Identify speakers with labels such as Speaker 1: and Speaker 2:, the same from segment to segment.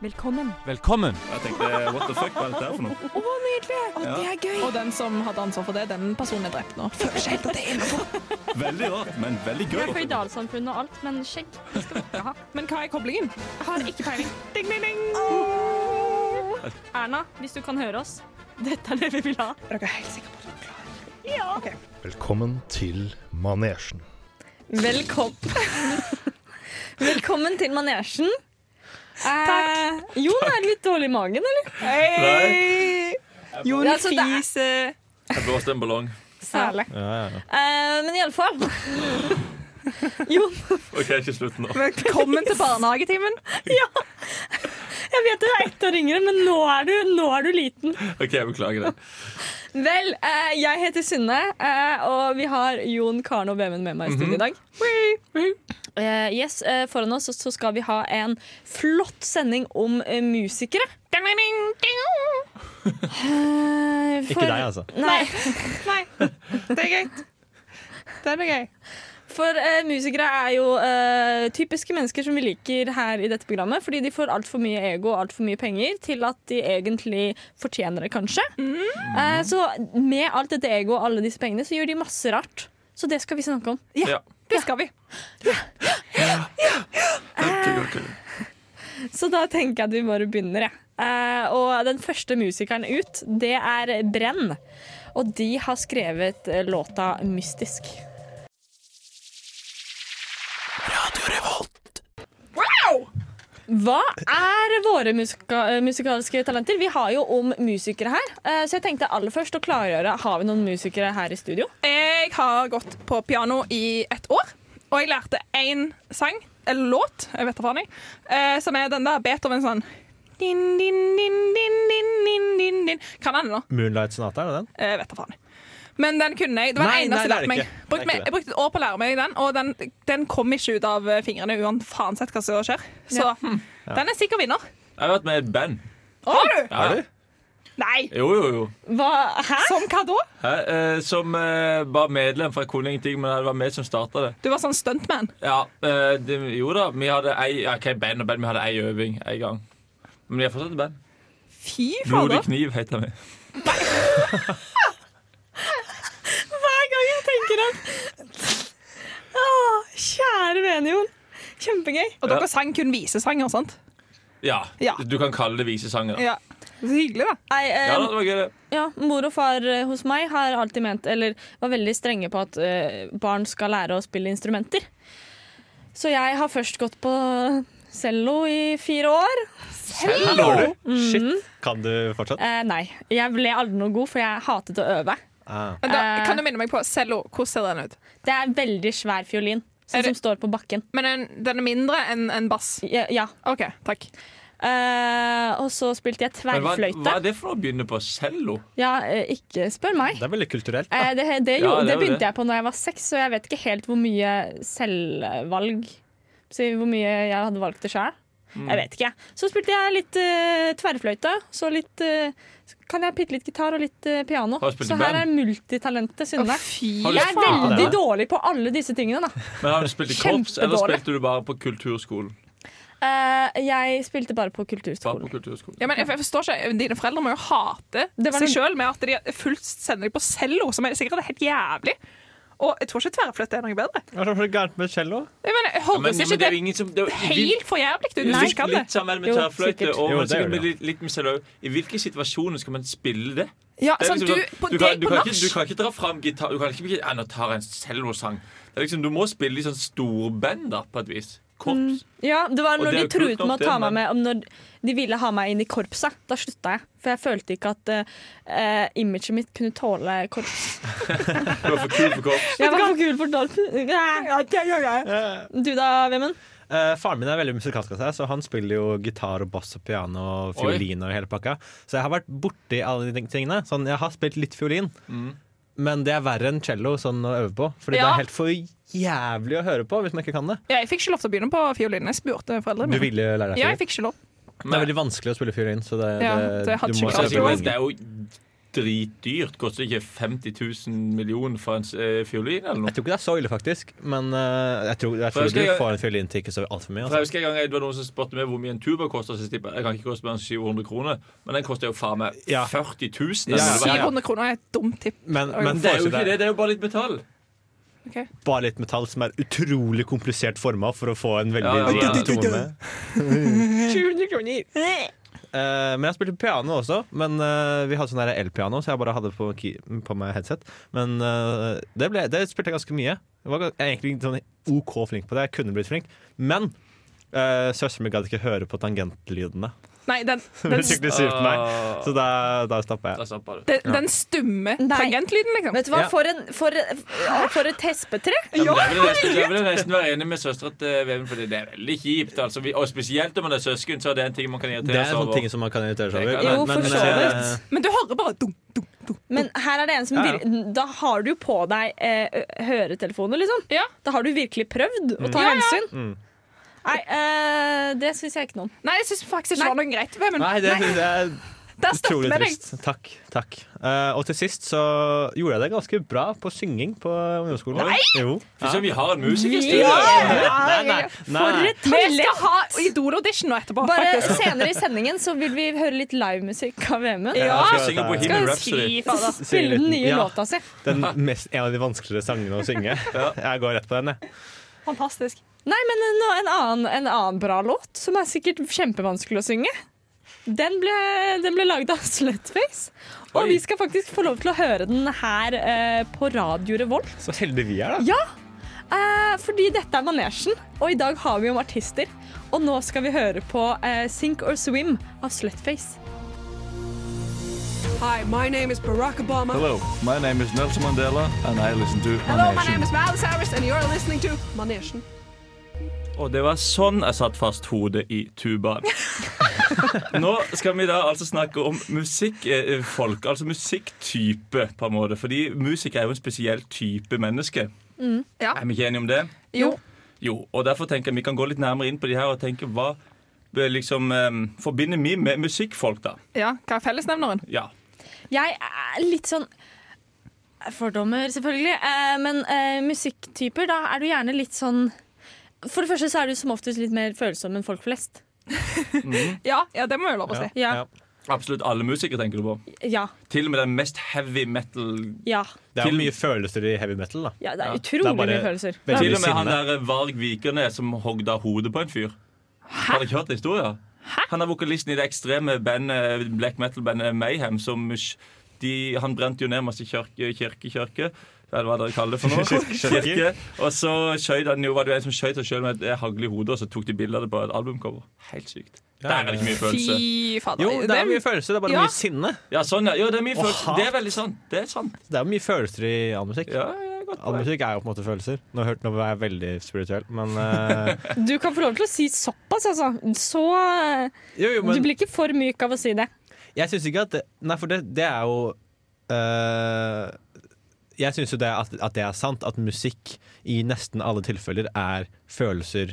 Speaker 1: Velkommen.
Speaker 2: Velkommen!
Speaker 3: Jeg tenkte what the fuck, hva er dette her for noe?
Speaker 1: Å, nydelig! Å,
Speaker 3: Ja.
Speaker 1: Det er gøy.
Speaker 4: Og den som hadde ansvar for det, den personen er drept nå.
Speaker 1: føler seg helt til.
Speaker 3: Veldig rart, men veldig gøy.
Speaker 5: Vi er føydalsamfunn og alt, men skjegg det skal vi ikke ha.
Speaker 4: Men hva er koblingen?
Speaker 5: Jeg har ikke peiling. Ding, ding, ding. Erna, hvis du kan høre oss, dette er det vi vil ha.
Speaker 4: Dere er helt sikre på at dere klarer
Speaker 6: Velkommen til manesjen.
Speaker 7: Velkommen. Velkommen til manesjen. Takk. Eh, Jon er litt dårlig i magen, eller?
Speaker 3: Nei.
Speaker 4: Jon
Speaker 7: Ja, altså, det er-
Speaker 4: fiser.
Speaker 3: Jeg blåste en ballong.
Speaker 7: Særlig.
Speaker 2: Ja, ja, ja.
Speaker 7: Eh, men iallfall Jon,
Speaker 3: OK, ikke slutt nå.
Speaker 4: Velkommen til barnehagetimen.
Speaker 7: jeg vet du er ett år yngre, men nå er du, nå er du liten.
Speaker 3: OK, jeg beklager det.
Speaker 7: Vel, eh, jeg heter Synne, eh, og vi har Jon, Karen og Vemund med meg i studio i dag.
Speaker 2: Mhm.
Speaker 7: Eh, yes, eh, Foran oss så skal vi ha en flott sending om eh, musikere. Eh, for-
Speaker 2: Ikke deg, altså.
Speaker 7: Nei.
Speaker 4: Nei, det er greit. Den er gøy.
Speaker 7: For eh, musikere er jo eh, typiske mennesker som vi liker her i dette programmet, fordi de får altfor mye ego og altfor mye penger til at de egentlig fortjener det, kanskje.
Speaker 4: Mhm.
Speaker 7: Eh, så med alt dette egoet og alle disse pengene, så gjør de masse rart. Så det skal vi snakke om.
Speaker 3: Ja.
Speaker 4: Det skal vi.
Speaker 7: Så da tenker jeg at vi bare begynner, jeg. Eh, og den første musikeren ut, det er Brenn. Og de har skrevet eh, låta 'Mystisk'. Hva er våre musika musikalske talenter? Vi har jo om musikere her. eh, Så jeg tenkte aller først å klargjøre Har vi noen musikere her i studio.
Speaker 4: Jeg har gått på piano i et år, og jeg lærte én sang, eller låt, jeg vet da faen jeg, eh, som er den der Beethoven sånn din, din, din, din, din, din, din, din. Kan han den nå? Eh,
Speaker 2: Moonlight Sonata, er det den?
Speaker 4: Jeg vet da faen. Men den kunne jeg. Det var
Speaker 2: Nei,
Speaker 4: den
Speaker 2: nei,
Speaker 4: eneste jeg
Speaker 2: det er
Speaker 4: lærte
Speaker 2: det
Speaker 4: meg.
Speaker 2: ikke. Det er
Speaker 4: Brukte meg.
Speaker 2: ikke det.
Speaker 4: Jeg brukte et år på å lære meg den, og den, den kom ikke ut av eh, fingrene uansett hva som skjer. Så den er sikker vinner.
Speaker 3: Jeg har vært med i et band.
Speaker 4: Har du?
Speaker 3: Ja.
Speaker 4: Nei.
Speaker 3: Jo, jo, jo.
Speaker 7: Hva, hæ?
Speaker 4: Som hva da?
Speaker 3: Jeg, eh, som eh, var medlem, for jeg kunne ingenting, men det var meg som starta det.
Speaker 4: Du var sånn stuntman.
Speaker 3: Ja, eh, det, Jo da, vi hadde ei ja, ok, band og band, vi hadde ei øving en gang. Men vi er fortsatt et band.
Speaker 4: Fy
Speaker 3: Blodig
Speaker 4: fader.
Speaker 3: kniv heter vi.
Speaker 7: Hver gang jeg tenker at Åh, Kjære vene, Jon. Kjempegøy.
Speaker 4: Og dere sang kun visesanger, sant?
Speaker 3: Ja.
Speaker 4: Ja.
Speaker 3: Du kan kalle det visesanger. da.
Speaker 4: Ja. Så hyggelig, da.
Speaker 7: Nei, eh,
Speaker 3: Ja, da, det var gøy, det.
Speaker 7: Ja, mor og far eh, hos meg har alltid ment, eller var veldig strenge på at eh, barn skal lære å spille instrumenter. Så jeg har først gått på cello i fire år.
Speaker 2: Hello!
Speaker 4: Mm.
Speaker 2: Shit. Kan du fortsatt?
Speaker 7: Eh, nei, jeg ble aldri noe god, for jeg hatet å øve.
Speaker 2: Ah.
Speaker 4: Men da
Speaker 7: Eh.
Speaker 4: kan du minne meg på cello. Hvordan ser den ut?
Speaker 7: Det er en veldig svær fiolin,
Speaker 4: Er
Speaker 7: sånn
Speaker 4: det-
Speaker 7: som står på bakken.
Speaker 4: Men den, den er mindre enn en bass.
Speaker 7: Ja. ja.
Speaker 4: OK, takk.
Speaker 7: Eh, og så spilte jeg
Speaker 3: Men hva, hva
Speaker 7: tverrfløyte.
Speaker 3: er det for å begynne på cello?
Speaker 7: Ja, eh, ikke spør meg.
Speaker 2: Det er veldig kulturelt.
Speaker 7: Eh, det, det,
Speaker 3: Ja, det er
Speaker 7: gjorde- det
Speaker 3: jo det.
Speaker 7: begynte jeg på når jeg var seks, så jeg vet ikke helt hvor mye selvvalg si Hvor mye jeg hadde valgt det sjøl.
Speaker 3: Mm.
Speaker 7: Jeg vet ikke. Så spilte jeg litt eh, tverrfløyte. Så litt eh, så Kan jeg bitte litt gitar og litt eh, piano.
Speaker 3: Har du spilt i
Speaker 7: Så her er
Speaker 3: band?
Speaker 7: multitalentet Synne.
Speaker 4: fy
Speaker 3: Har du-
Speaker 7: jeg er
Speaker 3: faen,
Speaker 7: veldig
Speaker 2: det er det.
Speaker 7: dårlig på alle disse tingene, da.
Speaker 3: Men Har du spilt i korps, eller
Speaker 7: Kjempedårlig.
Speaker 3: spilte du bare på kulturskolen?
Speaker 7: Eh, jeg spilte bare på
Speaker 3: Bare på
Speaker 7: kulturskolen.
Speaker 3: kulturskolen.
Speaker 4: ja, men jeg, jeg forstår ikke, Dine foreldre må jo hate
Speaker 7: Det var
Speaker 4: seg
Speaker 7: noe-
Speaker 4: sjøl med at de har fullt sender deg på cello, som er sikkert helt jævlig. Og jeg tror ikke tverrfløyte er noe bedre.
Speaker 2: Hva er det for gærent med cello?
Speaker 4: Jeg mener, jeg
Speaker 3: Ja, men,
Speaker 4: høres
Speaker 3: men
Speaker 4: ikke
Speaker 3: det
Speaker 4: det
Speaker 3: er jo ingen som det er jo,
Speaker 4: helt for jævlig ut?
Speaker 3: Nei,
Speaker 4: Nei,
Speaker 3: litt,
Speaker 4: det.
Speaker 3: litt sammen med
Speaker 7: Jo,
Speaker 3: tverrfløyte. Og,
Speaker 7: sikkert.
Speaker 2: Jo,
Speaker 3: men
Speaker 2: det er
Speaker 3: sikkert
Speaker 2: det,
Speaker 3: med litt, litt med cello. I hvilke situasjoner skal man spille det?
Speaker 4: Ja,
Speaker 3: det er
Speaker 4: sånn,
Speaker 3: liksom
Speaker 4: du,
Speaker 3: sånn,
Speaker 4: på,
Speaker 3: du,
Speaker 4: det,
Speaker 3: kan, du,
Speaker 4: på
Speaker 3: kan ikke,
Speaker 4: nach
Speaker 3: du kan ikke dra fram gitar Du kan ikke bli, ja, nå tar jeg en cellosang. Det er liksom, du må spille i sånn storband, da, på et vis. Korps.
Speaker 7: Ja, det var
Speaker 3: Og
Speaker 7: når
Speaker 3: det er
Speaker 7: de
Speaker 3: jo
Speaker 7: truet
Speaker 3: kult
Speaker 7: med
Speaker 3: nok,
Speaker 7: å ta
Speaker 3: det,
Speaker 7: meg
Speaker 3: men-
Speaker 7: med om Når de ville ha meg inn i korpset. Da slutta jeg. For jeg følte ikke at uh, imaget mitt kunne tåle korps.
Speaker 3: Du er for kul for korps.
Speaker 7: Jeg var for kul for Dolph.
Speaker 2: Eh,
Speaker 7: Du da, Vemund?
Speaker 2: eh, faren min er veldig musikalsk av seg, så han spiller jo gitar og bass og piano og
Speaker 3: Oi.
Speaker 2: fiolin og hele pakka. Så jeg har vært borti alle de tingene. Sånn, jeg har spilt litt fiolin,
Speaker 3: Mm.
Speaker 2: men det er verre enn cello sånn å øve på. Fordi det
Speaker 4: Ja.
Speaker 2: er helt for jævlig å høre på hvis man ikke kan det.
Speaker 4: ja, Jeg fikk ikke lov til å begynne på fiolin. Jeg spurte foreldrene
Speaker 2: Du ville lære deg
Speaker 4: Ja, jeg
Speaker 2: fiolin?
Speaker 4: fikk ikke lov.
Speaker 2: Det er veldig vanskelig å spille fiolin, så det,
Speaker 4: Ja,
Speaker 2: det,
Speaker 4: det hadde
Speaker 2: du
Speaker 4: ikke
Speaker 2: må
Speaker 4: jeg
Speaker 3: Altså,
Speaker 2: øve
Speaker 3: ikke minst,
Speaker 2: lenge.
Speaker 3: det er jo dritdyrt. Koster ikke 50 000 millioner for en eh, fiolin eller noe?
Speaker 2: Jeg tror ikke det er så ille, faktisk. Men eh, jeg tror, jeg
Speaker 3: For jeg
Speaker 2: tror
Speaker 3: skal-
Speaker 2: du får en fiolin til ikke så altfor mye.
Speaker 3: For jeg
Speaker 2: Altså.
Speaker 3: husker en gang det var noen som spurte meg hvor mye en tuba koster. Så jeg tippa- jeg kan ikke koste mer enn 700 kroner, men den koster jo faen meg
Speaker 2: Ja.
Speaker 3: 40 000. eller noe.
Speaker 2: Ja, ja, ja.
Speaker 4: 700 kroner er et dumt tipp.
Speaker 2: Men,
Speaker 4: Oi.
Speaker 2: men
Speaker 3: Det er jo
Speaker 2: forestille
Speaker 3: ikke
Speaker 2: deg-
Speaker 3: det, det er jo bare litt metall.
Speaker 4: ok?
Speaker 2: bare litt metall som er utrolig komplisert forma for å få en
Speaker 3: Ja,
Speaker 2: veldig
Speaker 3: ja, ja.
Speaker 2: liten tone.
Speaker 7: 700 kroner.
Speaker 2: Eh, men jeg spilte piano også, men eh, vi hadde sånn der elpiano, så jeg bare hadde på, ki på meg headset. Men eh, det, ble, det spilte jeg ganske mye. Jeg var gans- jeg er egentlig sånn OK flink på det. Jeg kunne blitt flink. Men uh, søsteren min gadd ikke høre på tangentlydene.
Speaker 4: Nei, den,
Speaker 2: Hun
Speaker 4: den,
Speaker 2: ble skikkelig sur på meg,
Speaker 3: Ah.
Speaker 2: så da, da stoppa
Speaker 3: Da
Speaker 2: jeg.
Speaker 3: stoppa du.
Speaker 4: den, den stumme
Speaker 7: Nei.
Speaker 4: tangentlyden, liksom.
Speaker 7: Vet du hva,
Speaker 2: Ja.
Speaker 7: for, en, for, for et hespetre.
Speaker 3: Ja, men da vil jeg nesten, da vil jeg nesten være enig med søstera til Veven, for det er veldig kjipt. Altså. Vi- Og spesielt om man er søsken, så er det en ting man kan
Speaker 2: Det
Speaker 3: irritere
Speaker 2: er
Speaker 3: seg
Speaker 2: sånne
Speaker 3: over.
Speaker 2: ting som man kan irritere seg
Speaker 3: Det
Speaker 2: over.
Speaker 3: kan-
Speaker 7: Jo, for så
Speaker 2: eh,
Speaker 4: Men du hører bare dum, dum, dum.
Speaker 7: Men her er det en som
Speaker 2: Ja, ja.
Speaker 7: vir- Da har du jo på deg eh, ø- høretelefoner, liksom.
Speaker 4: Ja.
Speaker 7: Da har du virkelig prøvd
Speaker 2: Mm.
Speaker 7: å ta hensyn. Nei, eh, det syns jeg ikke noe om.
Speaker 4: Nei, jeg syns faktisk ikke det var noe greit. Vemund,
Speaker 2: Nei, det, det
Speaker 4: der
Speaker 2: er Utrolig
Speaker 4: stopper vi deg.
Speaker 2: trist. Takk. takk. Eh, og til sist så gjorde jeg det ganske bra på synging på ungdomsskolen. Nei! Jo.
Speaker 3: Fy søren, vi har en musiker i studio!
Speaker 2: Nei, nei,
Speaker 7: For
Speaker 2: nei.
Speaker 7: et
Speaker 4: Vi skal
Speaker 7: talent!
Speaker 4: ha Idol-audition nå etterpå.
Speaker 7: Bare
Speaker 4: faktisk.
Speaker 7: senere i sendingen så vil vi høre litt livemusikk av Vemund.
Speaker 2: Ja,
Speaker 3: Jeg
Speaker 2: skal
Speaker 3: synger
Speaker 2: jeg
Speaker 3: Bohemian Rhapsody.
Speaker 7: S- Spille den nye
Speaker 2: Ja.
Speaker 7: låta si.
Speaker 2: Den mest, en av de vanskeligere sangene å synge. Jeg går rett på den, jeg.
Speaker 4: Fantastisk.
Speaker 7: Nei, men en, en, annen, en annen bra låt, som er sikkert kjempevanskelig å synge. Den ble, den ble laget av Slutface. Og
Speaker 3: Oi.
Speaker 7: vi skal faktisk få lov til å høre den her eh, på Radio Revolt.
Speaker 2: Så heldige vi er, da.
Speaker 7: Ja, eh, fordi dette er manesjen, og i dag har vi om artister. Og nå skal vi høre på eh, Sink or Swim av Slutface.
Speaker 1: Hi, my name is Barack Obama.
Speaker 3: Hello, my name is Nelson Mandela, and I listen to
Speaker 1: Hello, my name is Miles Harris, and you're listening to Manation.
Speaker 3: Og det var sånn jeg satt fast hodet i tubaen. Nå skal vi da altså snakke om musikkfolk, altså musikktype, på en måte. Fordi musikere er jo en spesiell type menneske.
Speaker 1: Mm,
Speaker 4: Ja.
Speaker 3: Er vi ikke enige om det?
Speaker 4: Jo.
Speaker 3: Jo, og derfor tenker jeg vi kan gå litt nærmere inn på de her og tenke hva eh, liksom eh, forbinder vi med musikkfolk, da?
Speaker 4: Ja, hva er fellesnevneren?
Speaker 3: Ja.
Speaker 7: Jeg er litt sånn eh, Fordommer, selvfølgelig. Eh, men eh, musikktyper, da er du gjerne litt sånn For det første så er du som oftest litt mer følsom enn folk flest.
Speaker 4: Ja, ja, det må jeg lov å si.
Speaker 7: Ja.
Speaker 3: Absolutt alle musikere tenker du på.
Speaker 7: Ja.
Speaker 3: Til og med den mest heavy metal
Speaker 7: Ja.
Speaker 2: Det er
Speaker 3: Til-
Speaker 2: jo mye følelser i heavy metal, da.
Speaker 7: ja det er
Speaker 3: Ja,
Speaker 7: utrolig
Speaker 2: det er bare-
Speaker 7: mye følelser.
Speaker 2: Veldig
Speaker 3: Til og med han
Speaker 2: sinne.
Speaker 3: der eh, Varg Vikernes som hogda hodet på en fyr. Har dere ikke hørt historien? Han er vokalisten i det ekstreme bandet, black metal-bandet Mayhem. Som sj- de, han brente jo ned masse kirke, kirke, kirke. Eller hva dere kaller det for noe.
Speaker 2: Kirke.
Speaker 3: Kirke. Og så skjøt han jo, var det jo en som skjøt seg sjøl med et hagle i hodet, og så tok de bilde av det på et albumcover. Helt sykt. Der er det ikke mye følelse.
Speaker 4: Fy fader.
Speaker 2: Jo, det er mye følelser, det er bare
Speaker 4: Ja.
Speaker 2: mye sinne.
Speaker 3: Ja, sånn, ja. Jo, det er mye følelse.
Speaker 2: hat.
Speaker 3: Det er veldig sant. Det er sant.
Speaker 2: Det er jo mye følelser i all musikk.
Speaker 3: Ja, ja, godt
Speaker 2: All
Speaker 3: poeng.
Speaker 2: musikk er jo på en måte følelser. Nå, hørte- nå var jeg veldig spirituell, men eh,
Speaker 7: Du kan få lov til å si såpass, altså. Så eh,
Speaker 2: Jo, jo,
Speaker 7: Du
Speaker 2: men
Speaker 7: blir ikke for myk av å si det.
Speaker 2: jeg syns ikke at det, Nei, for det, det er jo eh, Jeg syns jo det at, at det er sant, at musikk i nesten alle tilfeller er følelser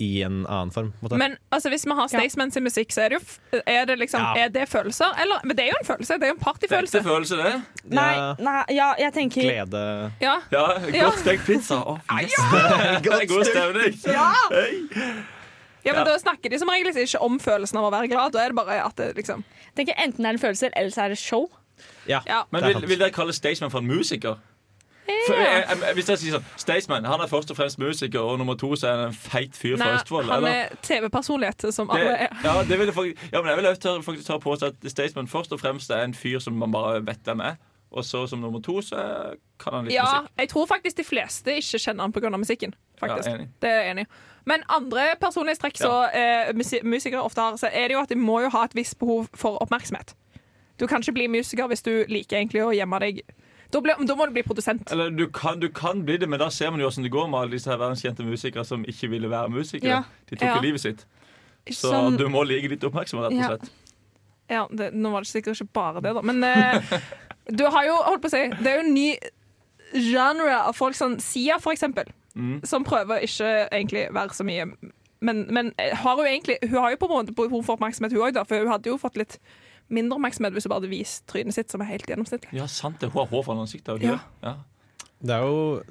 Speaker 2: i en annen form. på en måte.
Speaker 4: Men altså, hvis vi har Staysman sin musikk, så er det jo f- er det, liksom,
Speaker 2: Ja.
Speaker 4: er det følelser? Eller, men det er jo en følelse. Det er jo en
Speaker 3: Det er
Speaker 4: partyfølelse.
Speaker 3: ekte følelse, det.
Speaker 7: Nei,
Speaker 2: Ja.
Speaker 7: nei ja, jeg tenker
Speaker 2: Glede
Speaker 4: Ja.
Speaker 3: Ja,
Speaker 4: Ja.
Speaker 3: Godt stekt pizza. Å, yes. Det er god stemning.
Speaker 4: ja,
Speaker 3: Ja.
Speaker 4: men da snakker de som regel ikke om følelsen av å være glad. Da er det bare at det liksom
Speaker 7: tenker enten er det følelser, eller så er det show.
Speaker 2: Ja.
Speaker 4: Ja.
Speaker 3: Men
Speaker 2: Det er
Speaker 3: vil,
Speaker 2: sant.
Speaker 3: vil dere kalle Staysman for en musiker? For, jeg, jeg, jeg- hvis jeg sier sånn Staysman han er først og fremst musiker, og nummer to så er han en feit fyr
Speaker 4: Nei,
Speaker 3: fra Østfold.
Speaker 4: han
Speaker 3: eller?
Speaker 4: er TV-personlighet, som alle
Speaker 3: Det,
Speaker 4: er.
Speaker 3: ja, det vil jeg, faktisk- ja, men jeg vil også tørre- faktisk tørre påstå at Staysman først og fremst er en fyr som man bare vet hvem er. Og så som nummer to så kan han litt
Speaker 4: Ja,
Speaker 3: musikk.
Speaker 4: jeg tror faktisk de fleste ikke kjenner han pga. musikken. Faktisk.
Speaker 3: Ja, enig.
Speaker 4: det er jeg enig i. Men andre personlighetstrekk som eh, musi- musikere ofte har, så er det jo at de må jo ha et visst behov for oppmerksomhet. Du kan ikke bli musiker hvis du liker egentlig å gjemme deg. Da, ble, da må du bli produsent.
Speaker 3: Eller du kan, du kan bli det, men da ser man jo hvordan det går med alle disse her verdenskjente musikere som ikke ville være musikere.
Speaker 7: Ja.
Speaker 3: De tok jo
Speaker 4: Ja.
Speaker 3: livet sitt. Så
Speaker 7: Som-
Speaker 3: du må like litt oppmerksomhet, rett
Speaker 7: Ja.
Speaker 3: og slett.
Speaker 4: Ja, det, nå var det sikkert ikke bare det, da. Men eh, du har jo holdt på å si Det er jo en ny genre av folk som Sia, for eksempel.
Speaker 3: Mm.
Speaker 4: Som prøver å ikke egentlig være så mye eh, Men, men har jo egentlig, hun har jo på en måte behov for oppmerksomhet, hun òg, for hun hadde jo fått litt mindre oppmerksomhet hvis hun bare hadde vist trynet sitt, som er helt gjennomsnittlig.
Speaker 3: Ja, sant det. Hun har hår foran ansiktet. har hun ikke det?
Speaker 4: Ja.
Speaker 3: Ja.
Speaker 2: Det er jo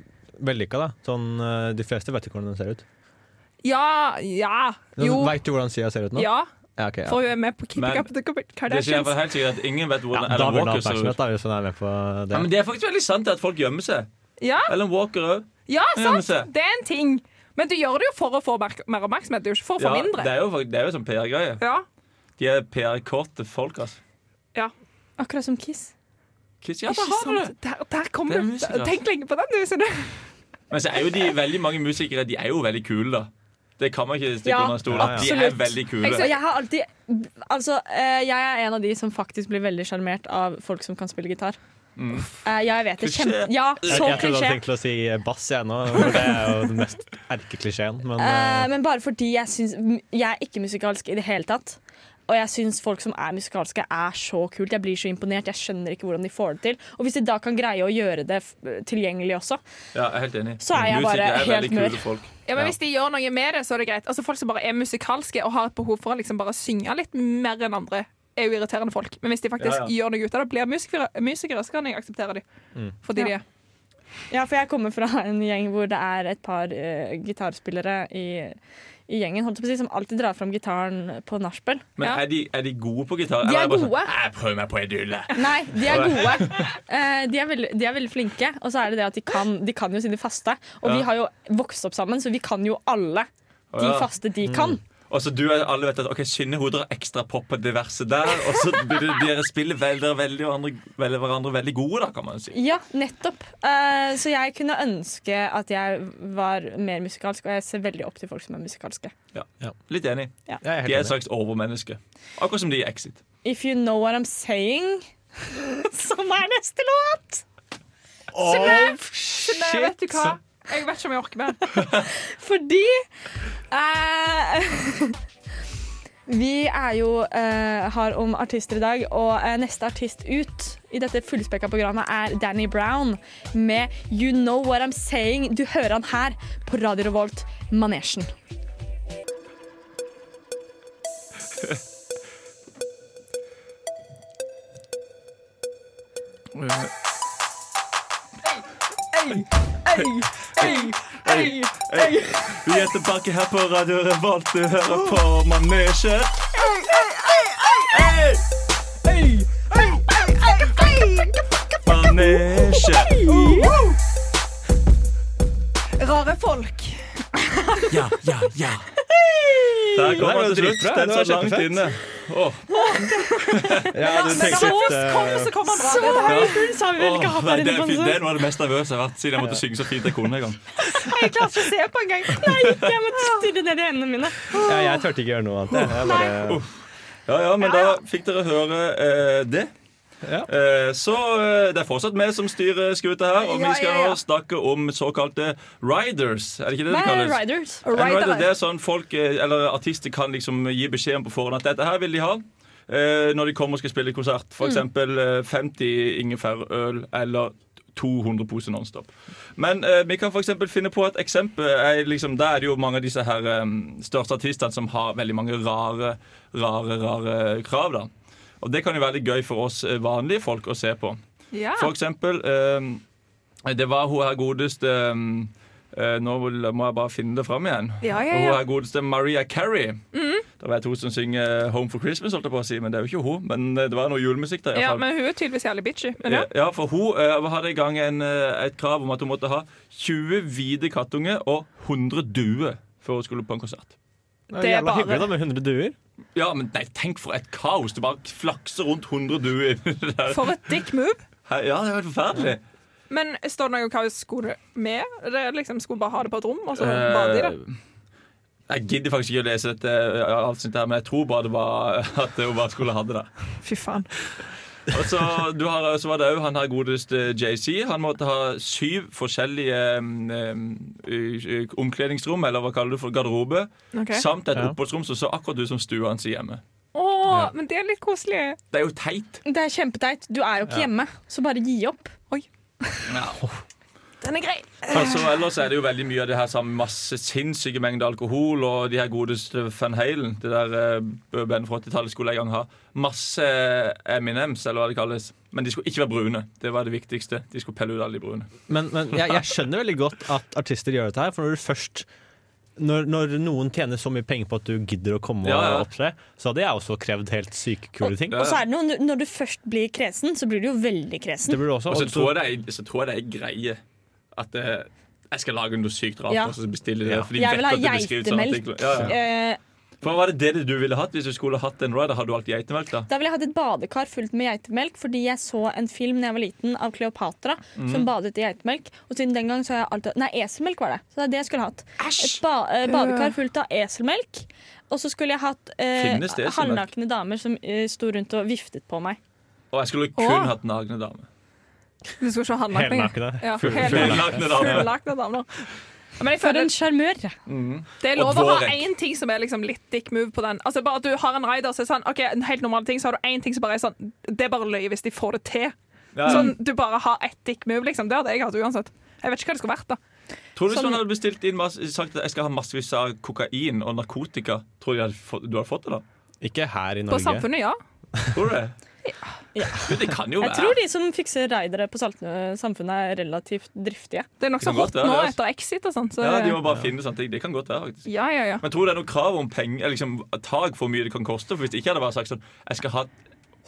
Speaker 2: vellykka, da. Sånn, eh, de fleste vet jo hvordan den ser ut.
Speaker 4: Ja, ja, jo.
Speaker 2: Veit du hvordan Sia ser ut nå?
Speaker 4: Ja,
Speaker 2: Ja, ok, ja.
Speaker 4: for hun er med på Keeping
Speaker 3: Men-
Speaker 4: Up with the Kar-
Speaker 3: Det sier i hvert
Speaker 4: Kardashians.
Speaker 3: fall helt sikkert at ingen vet
Speaker 2: Ja,
Speaker 3: hvordan
Speaker 2: da
Speaker 3: Ellen
Speaker 2: burde
Speaker 3: Walker
Speaker 2: han ha
Speaker 3: ser ut.
Speaker 2: oppmerksomhet, da, hvis han er med på det.
Speaker 3: Ja, men Det er faktisk veldig sant at folk gjemmer seg.
Speaker 4: Ja,
Speaker 3: Ellen Walker òg.
Speaker 4: ja,
Speaker 3: Ja, men
Speaker 4: sant!
Speaker 3: se.
Speaker 4: Det er en ting. Men du gjør det jo for å få mer mer oppmerksomhet, det er jo ikke for å få
Speaker 3: Ja, det
Speaker 4: mindre.
Speaker 3: er jo, fakt- det er jo sånn PR-greie.
Speaker 4: Ja,
Speaker 3: De er PR-korte folk, altså.
Speaker 7: Akkurat som Kiss.
Speaker 3: Kiss, ja, da
Speaker 4: ikke
Speaker 3: har du det.
Speaker 4: sant. Der, der kom
Speaker 3: Det er
Speaker 4: du.
Speaker 3: musikk, altså.
Speaker 4: Tenk lenge på den, du. Synne.
Speaker 3: Men så er jo de veldig mange musikere De er jo veldig kule, da. Det kan man ikke stikke
Speaker 7: Ja,
Speaker 3: under en stol. at De er
Speaker 7: absolutt.
Speaker 3: veldig
Speaker 7: Og
Speaker 3: kule.
Speaker 7: jeg har alltid Altså, eh, jeg er en av de som faktisk blir veldig sjarmert av folk som kan spille gitar. Eh, ja, jeg vet det.
Speaker 3: Klisjé.
Speaker 7: Kjempe... Ja,
Speaker 2: Mm. Jeg,
Speaker 7: så
Speaker 4: Sånn
Speaker 2: jeg trodde han
Speaker 7: klisjé.
Speaker 2: tenkte å si bass, jeg nå. For det er jo den mest erkeklisjeen. Men
Speaker 7: Eh,
Speaker 2: eh,
Speaker 7: men bare fordi jeg syns Jeg er ikke musikalsk i det hele tatt. Og jeg syns folk som er musikalske, er så kult. Jeg blir så imponert. Jeg skjønner ikke hvordan de får det til. Og hvis de da kan greie å gjøre det f eh, tilgjengelig også,
Speaker 3: Ja, jeg er helt enig.
Speaker 7: Så er jeg bare
Speaker 3: musikere er
Speaker 7: helt
Speaker 3: veldig kule
Speaker 7: mør.
Speaker 3: folk.
Speaker 4: Ja, men
Speaker 2: Ja.
Speaker 4: Hvis de gjør noe med det, så er det greit. Altså Folk som bare er musikalske og har et behov for å liksom bare synge litt mer enn andre, er jo irriterende folk. Men hvis de faktisk
Speaker 3: Ja, ja.
Speaker 4: gjør noe ut av det, blir musikere, musikere så kan jeg akseptere dem.
Speaker 3: Mm.
Speaker 4: Fordi de
Speaker 7: Ja.
Speaker 4: er
Speaker 7: Ja, for jeg kommer fra en gjeng hvor det er et par eh, gitarspillere i, i gjengen holdt jeg på å si, som alltid drar fram gitaren på nachspiel.
Speaker 3: Men
Speaker 4: Ja.
Speaker 3: er de, er de gode på gitar?
Speaker 7: De
Speaker 3: Eller
Speaker 7: er
Speaker 3: bare
Speaker 7: gode.
Speaker 3: Sånn, jeg prøver meg på idylle.
Speaker 7: Nei, de er gode. Eh, de, er veldig, de er veldig flinke. Og så er det det at de kan, de kan jo sine faste. Og
Speaker 3: Ja.
Speaker 7: vi har jo vokst opp sammen, så vi kan jo alle
Speaker 3: Å,
Speaker 7: de
Speaker 3: ja.
Speaker 7: faste de kan.
Speaker 3: Og så du og alle vet at Ok, skinnehoder har ekstra pop på det verset der. Og så blir det- dere spiller veldig, veldig, hverandre, veldig, hverandre veldig gode, da, kan man si.
Speaker 7: Ja, nettopp. Eh, så jeg kunne ønske at jeg var mer musikalsk, og jeg ser veldig opp til folk som er musikalske.
Speaker 3: Litt enig.
Speaker 2: jeg er
Speaker 3: De er et
Speaker 2: helt enig.
Speaker 3: slags overmenneske. Akkurat som de i Exit.
Speaker 7: If you know what I'm saying, som er neste låt!
Speaker 4: Nei, vet du hva? Jeg vet ikke om jeg orker mer.
Speaker 7: Fordi eh, Vi er jo eh, har om artister i dag, og eh, neste artist ut i dette fullspekka programmet er Danny Brown med You Know What I'm Saying. Du hører han her på Radio Revolt Manesjen.
Speaker 3: Vi er tilbake her på Radio Revolt. Du hører på Manesje. Manesje.
Speaker 4: Rare folk.
Speaker 3: Ja, ja, ja. Der kom
Speaker 2: Det var
Speaker 3: han til slutt.
Speaker 2: dritbra.
Speaker 3: Den
Speaker 2: Det
Speaker 3: satt
Speaker 2: var
Speaker 3: langt
Speaker 2: kjempefett.
Speaker 3: inne. Åh,
Speaker 2: Ja, du tenkte
Speaker 4: Så
Speaker 2: litt, eh,
Speaker 4: kommer så kommer han bra.
Speaker 7: Så
Speaker 4: Det der.
Speaker 7: høy puls har vi vel
Speaker 3: åh,
Speaker 7: ikke hatt
Speaker 3: nei,
Speaker 7: her
Speaker 3: det,
Speaker 7: inne
Speaker 3: er
Speaker 7: på
Speaker 3: fint.
Speaker 7: en
Speaker 3: det er
Speaker 7: stund.
Speaker 3: noe av det mest nervøse jeg har vært siden jeg måtte synge så fint jeg kunne. en gang
Speaker 4: Jeg klarer ikke å se på engang.
Speaker 7: Jeg måtte stirre ned i øynene mine.
Speaker 2: ja, jeg turte ikke gjøre noe annet. jeg. Jeg bare,
Speaker 3: Ja, ja, men da fikk dere høre eh, det.
Speaker 2: Ja.
Speaker 3: Eh, så eh, det er fortsatt vi som styrer skuta her, og
Speaker 4: Ja,
Speaker 3: vi skal
Speaker 4: ja, ja.
Speaker 3: nå snakke om såkalte riders. Er det ikke det det kalles?
Speaker 7: Riders.
Speaker 3: En rider, det
Speaker 4: Right,
Speaker 3: er sånn folk, eh, eller Artister kan liksom gi beskjed om på forhånd at dette her vil de ha. eh, når de kommer og skal spille konsert. F.eks. Eh, 50 ingefærøl eller 200 poser Nonstop. Men eh, vi kan for eksempel finne på et eksempel. Er liksom, der er det jo mange av disse her eh, største artistene som har veldig mange rare, rare, rare krav. da. Og det kan jo være litt gøy for oss eh, vanlige folk å se på.
Speaker 4: ja.
Speaker 3: For eksempel eh, Det var hun her godeste eh, Nå vil- må jeg bare finne det fram igjen.
Speaker 4: Ja, ja,
Speaker 3: Hun
Speaker 4: ja. Mm.
Speaker 3: her godeste Maria Carey. Det var hun som synger eh, 'Home for Christmas', holdt jeg på å si, men det er jo ikke hun. Men eh, det var noe julemusikk der. i hvert
Speaker 4: ja,
Speaker 3: fall.
Speaker 4: men hun er tydeligvis jævlig bitchy. Men ja.
Speaker 3: Ja, ja, for hun eh, hadde i gang en, eh, et krav om at hun måtte ha 20 hvite kattunger og 100 duer før hun skulle på en konsert.
Speaker 2: Det
Speaker 4: Det
Speaker 2: er
Speaker 4: er
Speaker 2: jævla hyggelig
Speaker 4: bare-
Speaker 2: da, med 100 duer.
Speaker 3: Ja, men nei, tenk for et kaos! Det bare flakser rundt 100 duer. inni det der.
Speaker 4: For et dick move.
Speaker 3: ja, det er helt forferdelig.
Speaker 4: Men står det noe om hva hun skulle med? Det er liksom, skulle hun bare ha det på et rom, og så bade i det?
Speaker 3: Eh, Jeg gidder faktisk ikke å lese dette, eh, avsnittet her, men jeg tror bare det var at hun bare skulle ha det der.
Speaker 4: Fy faen.
Speaker 3: Og så, du har, så var det òg han her godeste JC. Han måtte ha syv forskjellige em, em, ø- ø- omkledningsrom, eller hva kaller du det for garderobe,
Speaker 4: Ok.
Speaker 3: samt et
Speaker 2: Ja.
Speaker 3: oppholdsrom som så akkurat ut som stua hans hjemme.
Speaker 4: Å, men det er litt koselig.
Speaker 3: Det er jo teit.
Speaker 7: Det er kjempeteit. Du er jo ikke hjemme, så bare gi opp.
Speaker 3: Ja.
Speaker 4: Den er grei.
Speaker 3: Altså, ellers er det jo veldig mye av det her sammen med masse sinnssyke mengder alkohol og de her godeste Van Halen. Det der eh, bandet fra 80-tallet skulle jeg en gang ha. Masse eh, M&M's, eller hva det kalles. Men de skulle ikke være brune. Det var det viktigste. De skulle pelle ut alle de brune.
Speaker 2: Men, men jeg, jeg skjønner veldig godt at artister gjør dette her, for når du først når, når noen tjener så mye penger på at du gidder å komme
Speaker 3: Ja, ja.
Speaker 2: og opptre, så hadde jeg også krevd helt syke kule ting.
Speaker 3: Ja.
Speaker 7: Og så er det noe, når du først blir kresen, så blir du jo veldig kresen.
Speaker 2: Det burde du også,
Speaker 3: Og så
Speaker 2: også
Speaker 3: tror jeg det er, så tror jeg det er greie at eh, jeg skal lage noe sykt rart,
Speaker 7: Ja.
Speaker 3: og så bestille det.
Speaker 2: Ja.
Speaker 3: For de
Speaker 7: Jeg
Speaker 3: vet
Speaker 7: vil ha
Speaker 3: at det blir skrevet sånn
Speaker 7: geitemelk.
Speaker 3: artikler. Ja, ja.
Speaker 7: Eh,
Speaker 3: Hva var det det du ville hatt hvis du skulle hatt en rider? Hadde du hatt geitemelk, da?
Speaker 7: Da ville jeg hatt et badekar fullt med geitemelk fordi jeg så en film da jeg var liten av Kleopatra
Speaker 3: Mhm.
Speaker 7: som badet i geitemelk. Og siden den gang så har jeg alltid Nei, eselmelk var det. Så det er det jeg skulle hatt. Et ba eh, badekar fullt av eselmelk. Og så skulle jeg hatt
Speaker 3: Finnes det
Speaker 7: eh,
Speaker 3: eselmelk?
Speaker 7: halvnakne damer som eh, sto rundt og viftet på meg.
Speaker 3: Og jeg skulle kun
Speaker 4: Åh.
Speaker 3: hatt nagne dame.
Speaker 4: Du skal ikke ha handlakning.
Speaker 2: Helnakne.
Speaker 4: Ja,
Speaker 2: Full-
Speaker 4: hele-
Speaker 2: full-
Speaker 3: Nagne dame.
Speaker 4: Fullakne damer. Men jeg føler
Speaker 7: sjarmør.
Speaker 4: det er lov
Speaker 3: Og
Speaker 4: å ha
Speaker 3: Dvorek.
Speaker 4: én ting som er liksom litt dick move på den. Altså Bare at du har en rider som er sånn Ok, en helt normal ting, så har du én ting som bare er sånn Det er bare løye hvis de får det til.
Speaker 3: Ja.
Speaker 4: Sånn, Du bare har ett dick move, liksom. Det hadde jeg hatt uansett. Jeg vet ikke hva det skulle vært, da.
Speaker 3: Tror du hvis
Speaker 7: Sånn-
Speaker 3: noen hadde bestilt inn masse, sagt at jeg skal ha massevis av kokain og narkotika, tror du jeg hadde fått, du hadde fått det da?
Speaker 2: Ikke her i
Speaker 4: På
Speaker 2: Norge.
Speaker 4: samfunnet, ja.
Speaker 3: Tror du det? Men det kan jo
Speaker 7: Jeg
Speaker 3: være.
Speaker 7: tror de som fikser raidere på Saltnø samfunnet, er relativt driftige.
Speaker 4: Det er nokså
Speaker 3: Det kan godt
Speaker 4: hot
Speaker 3: være,
Speaker 4: nå
Speaker 3: det, altså.
Speaker 4: etter Exit og sånn. Så
Speaker 3: Ja, De må bare finne sånne ting. Det kan godt være, faktisk.
Speaker 4: ja, ja, ja.
Speaker 3: Men tror du det er noe krav om penger, eller liksom tak for hvor mye det kan koste? For Hvis det ikke hadde vært sagt sånn Jeg skal ha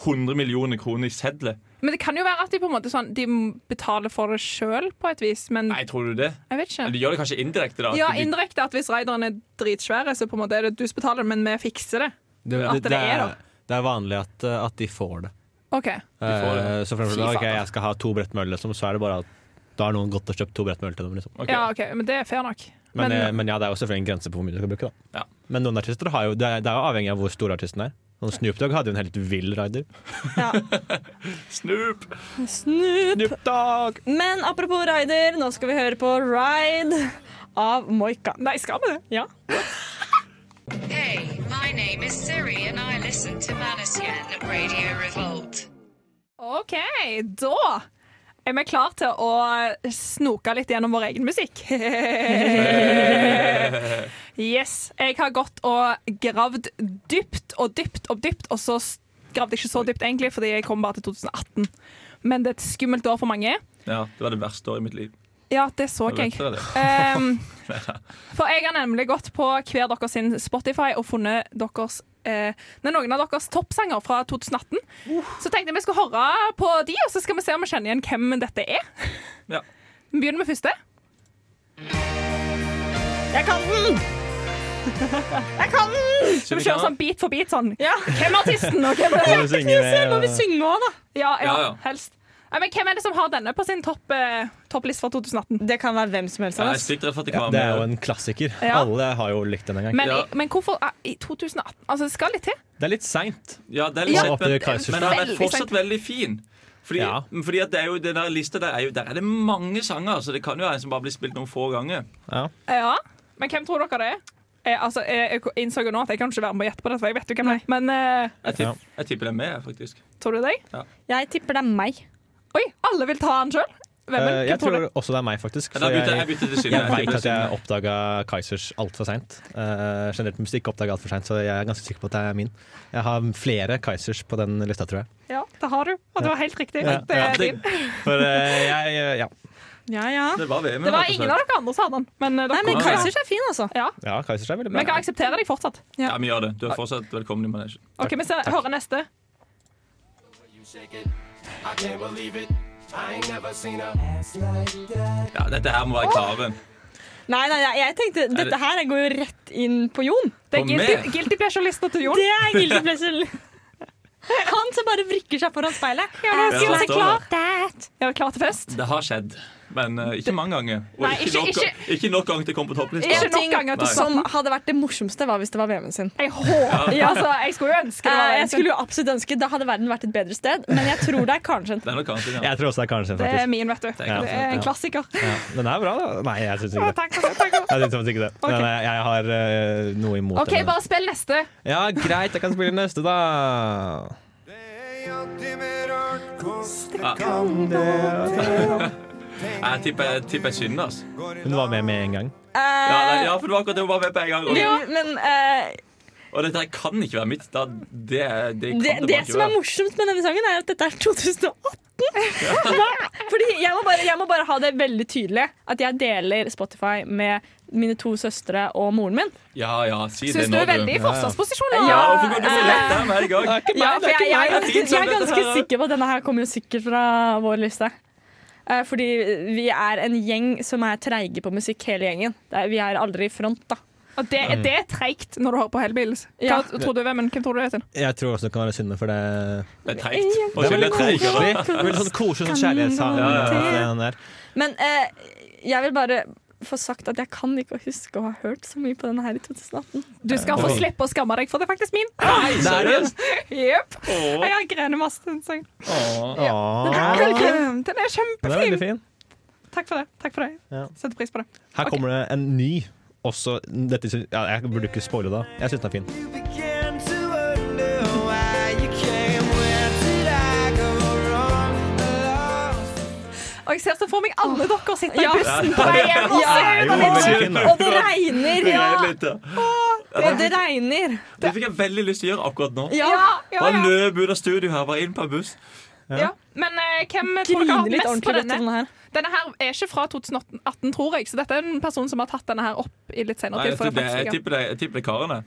Speaker 3: 100 millioner kroner i sedler.
Speaker 4: Men det kan jo være at de på en måte sånn De betaler for det sjøl, på et vis. Men
Speaker 3: Nei, tror du det?
Speaker 4: jeg vet
Speaker 3: Eller
Speaker 4: ikke.
Speaker 3: de gjør det kanskje indirekte, da. at
Speaker 4: Ja,
Speaker 3: de-
Speaker 4: indirekte at hvis raideren er dritsvære, så på en måte er det du som betaler, men vi fikser det. At det er, da.
Speaker 2: det er vanlig at, uh, at de får det.
Speaker 4: OK.
Speaker 2: Eh,
Speaker 3: får det.
Speaker 2: Så for eksempel,
Speaker 3: Fy
Speaker 2: ok,
Speaker 3: faen.
Speaker 2: jeg skal ha to brett med øl, liksom, så er det bare at da har noen gått og kjøpt to brett med øl til dem. Liksom.
Speaker 3: Ok.
Speaker 4: Ja, ok, Men det er fair nok.
Speaker 2: Men,
Speaker 4: Men-
Speaker 2: eh, men ja, det er jo selvfølgelig en grense på hvor mye du skal bruke. Da.
Speaker 3: Ja.
Speaker 2: Men noen artister har jo, det er, det er jo avhengig av hvor stor artisten er. Sånn Snoop Dogg hadde jo en helt vill rider.
Speaker 3: Snoop!
Speaker 7: Snup!
Speaker 2: Snoop Dogg!
Speaker 7: Men apropos raider, nå skal vi høre på Ride av Moika.
Speaker 4: Nei, skal vi det?
Speaker 7: Ja.
Speaker 8: Hey, my name is Siri and I listen to Manasian at Radio Revolt.
Speaker 4: OK, da er vi klar til å snoke litt gjennom vår egen musikk. yes. Jeg har gått og gravd dypt og dypt og dypt, og så s- gravde jeg ikke så dypt egentlig, fordi jeg kom bare til 2018. Men det er et skummelt år for mange.
Speaker 3: Ja, det var det verste året i mitt liv.
Speaker 4: Ja, det så
Speaker 3: Da
Speaker 4: ikke jeg.
Speaker 3: vet dere det.
Speaker 4: Ehm, for jeg har nemlig gått på hver deres sin Spotify og funnet deres eh, nei, noen av deres toppsanger fra 2018. Så tenkte jeg vi skulle høre på de, og så skal vi se om vi kjenner igjen hvem dette er.
Speaker 3: Ja.
Speaker 4: Vi begynner med første.
Speaker 7: Jeg kan den! Mm. Jeg kan den!
Speaker 4: Skal vi kjøre sånn bit for bit sånn?
Speaker 7: Ja.
Speaker 4: Hvem er artisten, og hvem er
Speaker 2: Må vi synge med,
Speaker 7: Må vi
Speaker 2: og-
Speaker 7: synge òg, da?
Speaker 4: ja, ja,
Speaker 3: Ja, ja.
Speaker 4: helst. Nei, men hvem er det som har denne på sin topp, eh, toppliste fra 2018?
Speaker 7: Det kan være hvem som helst
Speaker 3: Ja,
Speaker 7: av
Speaker 3: jeg er
Speaker 7: oss.
Speaker 3: stygt redd for at jeg
Speaker 2: Ja,
Speaker 3: kan
Speaker 2: det
Speaker 3: være
Speaker 2: er jo
Speaker 3: med.
Speaker 2: en klassiker.
Speaker 4: Ja.
Speaker 2: Alle har jo likt den en gang.
Speaker 4: Men,
Speaker 3: Ja.
Speaker 4: i- men hvorfor eh, i 2018? Altså, det skal litt til.
Speaker 2: Det er litt seint.
Speaker 3: Ja, det er litt
Speaker 2: Ja.
Speaker 3: sent,
Speaker 2: Opp til Kaiserslautern.
Speaker 3: men, men han er
Speaker 4: Veldig
Speaker 3: fortsatt
Speaker 4: sent.
Speaker 3: veldig fin. Fordi,
Speaker 2: Ja.
Speaker 3: fordi at det er jo, den der lista der er jo Der er det mange sanger, så det kan jo være en som bare blir spilt noen få ganger.
Speaker 2: Ja.
Speaker 4: Ja, men hvem tror dere det er? Eh, altså, jeg, jeg innså jo nå at jeg kan ikke være med og gjette på det, for jeg vet jo hvem det er. Men eh,
Speaker 3: Jeg, tipp, jeg tipper det er med, faktisk.
Speaker 4: tror du det?
Speaker 7: Jeg tipper det er meg.
Speaker 4: Oi, alle vil ta han sjøl? Hvem
Speaker 2: Eh,
Speaker 4: hvem
Speaker 2: jeg
Speaker 4: tror
Speaker 2: tror
Speaker 4: du?
Speaker 2: også det er meg, faktisk.
Speaker 3: Men da
Speaker 2: for
Speaker 3: bytter jeg
Speaker 2: jeg
Speaker 3: bytter til Synne.
Speaker 2: jeg veit
Speaker 3: tipper
Speaker 2: at jeg
Speaker 3: Synne.
Speaker 2: oppdaga Kaizers altfor seint. Uh, generelt musikk oppdaga altfor seint, så jeg er ganske sikker på at det er min. Jeg har flere Kaizers på den lista, tror jeg.
Speaker 4: Ja, det har du. Og det var helt riktig.
Speaker 2: Ja.
Speaker 4: Det, er din.
Speaker 3: det,
Speaker 2: For eh, jeg eh, Ja,
Speaker 7: Ja, ja.
Speaker 3: det var VM,
Speaker 4: det var
Speaker 3: rett og
Speaker 4: ingen
Speaker 3: slett.
Speaker 4: av dere andre som hadde den. Men, eh, dere
Speaker 7: Nei, men
Speaker 3: Nei.
Speaker 7: Kaizers er fin, altså.
Speaker 4: ja.
Speaker 2: ja Kaizers er veldig
Speaker 4: men
Speaker 2: bra.
Speaker 4: jeg kan akseptere deg fortsatt.
Speaker 3: Ja, vi gjør det. Du er fortsatt velkommen i manesjen.
Speaker 4: OK, vi ser, hører neste.
Speaker 3: Ja, dette her må være Karen.
Speaker 7: Nei, nei, nei, jeg tenkte dette her går jo rett inn på Jon.
Speaker 4: Det
Speaker 3: Og
Speaker 4: er
Speaker 3: mer.
Speaker 4: guilty, guilty pleasure-lista til Jon.
Speaker 7: Det er guilty pleasure. Han som bare vrikker seg foran speilet.
Speaker 4: Ja,
Speaker 3: Ja,
Speaker 4: nå skal
Speaker 3: sånn.
Speaker 4: vi
Speaker 3: det
Speaker 4: se
Speaker 3: står
Speaker 4: klar.
Speaker 3: det.
Speaker 7: That.
Speaker 4: Er dere klare til fest?
Speaker 3: Det har skjedd, men eh, ikke mange ganger. Og
Speaker 4: Nei,
Speaker 3: ikke,
Speaker 4: ikke-
Speaker 3: nok,
Speaker 4: ikke-
Speaker 3: ikke nok ganger til å komme på topplista.
Speaker 4: Ikke nok
Speaker 7: ting-
Speaker 4: ganger til
Speaker 3: Nei.
Speaker 4: sånn.
Speaker 7: Som hadde vært det morsomste, var hvis det var VM-en sin.
Speaker 4: Jeg håper
Speaker 7: Ja.
Speaker 4: altså, Jeg skulle jo ønske det
Speaker 7: Eh,
Speaker 4: var
Speaker 7: jeg skulle jo absolutt ønske Da hadde verden vært et bedre sted, men jeg tror det er kanskje en
Speaker 3: Det er nok Karen sin, ja.
Speaker 2: Jeg tror også det er Karen sin,
Speaker 4: Det er
Speaker 2: faktisk.
Speaker 4: min, vet du. Det
Speaker 3: er kanskje-
Speaker 4: er
Speaker 2: ja.
Speaker 4: en klassiker.
Speaker 2: Ja. Den er bra, da. Nei, jeg
Speaker 4: Å,
Speaker 2: syns ikke det.
Speaker 4: Takk for det. Takk for det.
Speaker 2: Jeg, synes faktisk ikke det.
Speaker 4: Ok.
Speaker 2: Nei, nei, jeg har eh, noe imot
Speaker 4: OK,
Speaker 2: den.
Speaker 4: bare spill neste.
Speaker 2: Ja, greit, jeg kan spille neste, da.
Speaker 3: Ja. Jeg tipper jeg tipper jeg synd, altså.
Speaker 4: Eh.
Speaker 2: Hun var med med en gang.
Speaker 3: Ja,
Speaker 7: Eh,
Speaker 3: nei, ja, for det var akkurat det hun var med på en gang. Og,
Speaker 7: Men eh,
Speaker 3: og dette her kan ikke være mitt. Da, det, det, kan det,
Speaker 7: det, det
Speaker 3: bare ikke
Speaker 7: som er
Speaker 3: være.
Speaker 7: morsomt med denne sangen, er at dette er 2018. Hva? Fordi jeg må, bare, jeg må bare ha det veldig tydelig at jeg deler Spotify med mine to søstre og moren min.
Speaker 3: Ja, ja, si det
Speaker 4: Syns du
Speaker 3: nå,
Speaker 4: er veldig i
Speaker 2: Ja, ja.
Speaker 4: forsvarsposisjon? nå?
Speaker 3: Ja, hvorfor går du så lett der hver gang?
Speaker 7: Ja, for jeg,
Speaker 3: det
Speaker 7: jeg,
Speaker 3: er
Speaker 7: jeg,
Speaker 3: fint som sånn.
Speaker 7: er
Speaker 3: dette
Speaker 7: ganske
Speaker 3: her.
Speaker 7: sikker på at denne her kommer jo sikkert fra vår liste. Eh, Fordi vi er en gjeng som er treige på musikk, hele gjengen. Det er- Vi er aldri i front, da.
Speaker 4: Og det, det er treigt når du hører på Hellbillies. Hva
Speaker 7: Ja.
Speaker 4: tror du hvem, hvem tror du det er sin?
Speaker 2: Jeg tror også det kan være synd for det
Speaker 3: Det er treigt. Og
Speaker 2: Det er
Speaker 3: så er
Speaker 2: veldig
Speaker 3: det treigt.
Speaker 2: koselig. Veldig sånn koselig sånn kjærlighetssang.
Speaker 7: Ja, ja, ja.
Speaker 2: den der.
Speaker 7: Men eh, jeg vil bare få sagt at jeg kan ikke huske å ha hørt så mye på denne her i 2018.
Speaker 4: Du skal få slippe å skamme deg, for det er faktisk min.
Speaker 3: Nei, seriøst?
Speaker 4: Jepp. Jeg har grenet masse til den sangen.
Speaker 3: Åh.
Speaker 2: Åh,
Speaker 4: Den er
Speaker 2: Den er veldig
Speaker 4: kjempefin.
Speaker 2: fin.
Speaker 4: Takk for det. Takk for det.
Speaker 2: Ja.
Speaker 4: Setter pris på det.
Speaker 2: Her kommer det en ny også. Dette, sy- ja, jeg burde ikke spoile det. Jeg syns den er fin.
Speaker 4: Og jeg ser så for meg alle dere sitter
Speaker 7: Ja.
Speaker 4: i bussen på vei hjem. og
Speaker 7: Ja.
Speaker 4: ser på
Speaker 2: Ja.
Speaker 4: det.
Speaker 2: veldig fin, da.
Speaker 7: Og det regner!
Speaker 3: Det
Speaker 7: Ja.
Speaker 3: er litt, ja.
Speaker 7: Og det regner.
Speaker 3: Det fikk jeg veldig lyst til å gjøre akkurat nå.
Speaker 7: Ja.
Speaker 4: Ja,
Speaker 3: Bare
Speaker 4: ja,
Speaker 3: løp ut av studio her, var inn på en buss.
Speaker 4: ja. Men eh, hvem tror dere
Speaker 7: Grine
Speaker 4: har
Speaker 7: litt
Speaker 4: mest på
Speaker 7: ordentlig etter
Speaker 4: denne?
Speaker 7: denne her.
Speaker 4: Denne her er ikke fra 2018, tror jeg, så dette er en person som har tatt denne her opp i litt senere
Speaker 3: Nei,
Speaker 4: tid.
Speaker 3: jeg,
Speaker 4: for
Speaker 3: tipper,
Speaker 4: det er
Speaker 3: jeg,
Speaker 4: faktisk ikke-
Speaker 3: tipper det, jeg tipper det er karene.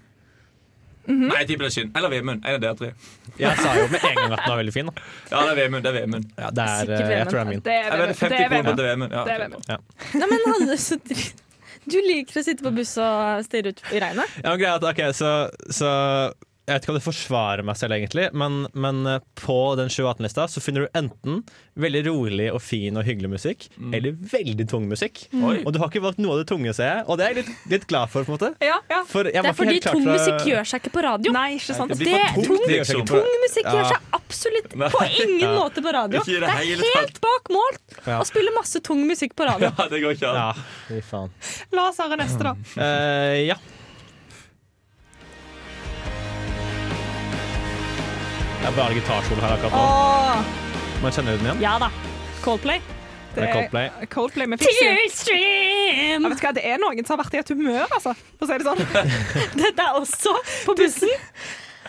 Speaker 3: Nei, jeg tipper det er Skinn. Eller Vemund. En av dere tre.
Speaker 2: Jeg sa jo med en gang at den var veldig fin. Da.
Speaker 3: Ja, det er Vemund. Det er Vemund.
Speaker 2: Ja, det er,
Speaker 7: Sikkert
Speaker 2: eh, jeg tror det er min.
Speaker 4: Det er
Speaker 3: Jeg vet,
Speaker 4: Vemund.
Speaker 3: 50
Speaker 4: Det er
Speaker 3: kroner
Speaker 4: Vemund.
Speaker 3: til Vemund. Ja,
Speaker 4: Det er
Speaker 3: ok.
Speaker 4: Vemund.
Speaker 7: Nei, men Hanne, så dritt. Du liker å sitte på buss og stirre ut i regnet?
Speaker 2: Ja, men greia er at, ok, så, så Jeg vet ikke om det forsvarer meg selv, egentlig, men, men eh, på den 2018-lista så finner du enten veldig rolig og fin og hyggelig musikk, eller veldig tung musikk.
Speaker 3: Mm. Oi.
Speaker 2: Og du har ikke valgt noe av det tunge, ser jeg, og det er jeg litt, litt glad for, på en måte.
Speaker 4: Ja, ja.
Speaker 2: For jeg
Speaker 7: Det er
Speaker 2: var ikke
Speaker 7: fordi
Speaker 2: helt klar
Speaker 7: tung
Speaker 2: for å-
Speaker 7: musikk gjør seg ikke på radio.
Speaker 4: Nei, ikke sant.
Speaker 3: Det blir for
Speaker 7: Det-
Speaker 3: tungt,
Speaker 2: Det gjør seg
Speaker 3: liksom.
Speaker 2: ikke
Speaker 7: Tung musikk gjør
Speaker 2: Ja.
Speaker 7: seg absolutt
Speaker 3: Nei.
Speaker 7: på ingen
Speaker 2: Ja.
Speaker 7: måte på radio.
Speaker 3: Ikke i det
Speaker 7: Det er
Speaker 3: hele
Speaker 7: helt
Speaker 3: tatt.
Speaker 7: bak mål
Speaker 2: Ja.
Speaker 7: å spille masse tung musikk på radio.
Speaker 3: Ja, det går ikke
Speaker 2: Ja,
Speaker 3: an.
Speaker 2: fy faen.
Speaker 4: La oss høre neste, da.
Speaker 2: Eh, ja. Det er bare gitarsolo her akkurat nå.
Speaker 7: Åh,
Speaker 2: Man kjenner jo den igjen.
Speaker 7: ja da. Coldplay.
Speaker 2: Det er Coldplay.
Speaker 4: Coldplay med Fixie. Ja,
Speaker 7: Tearstream!
Speaker 4: vet du hva, det er noen som har vært i et humør, altså. For å si det sånn.
Speaker 7: Dette er også på bussen.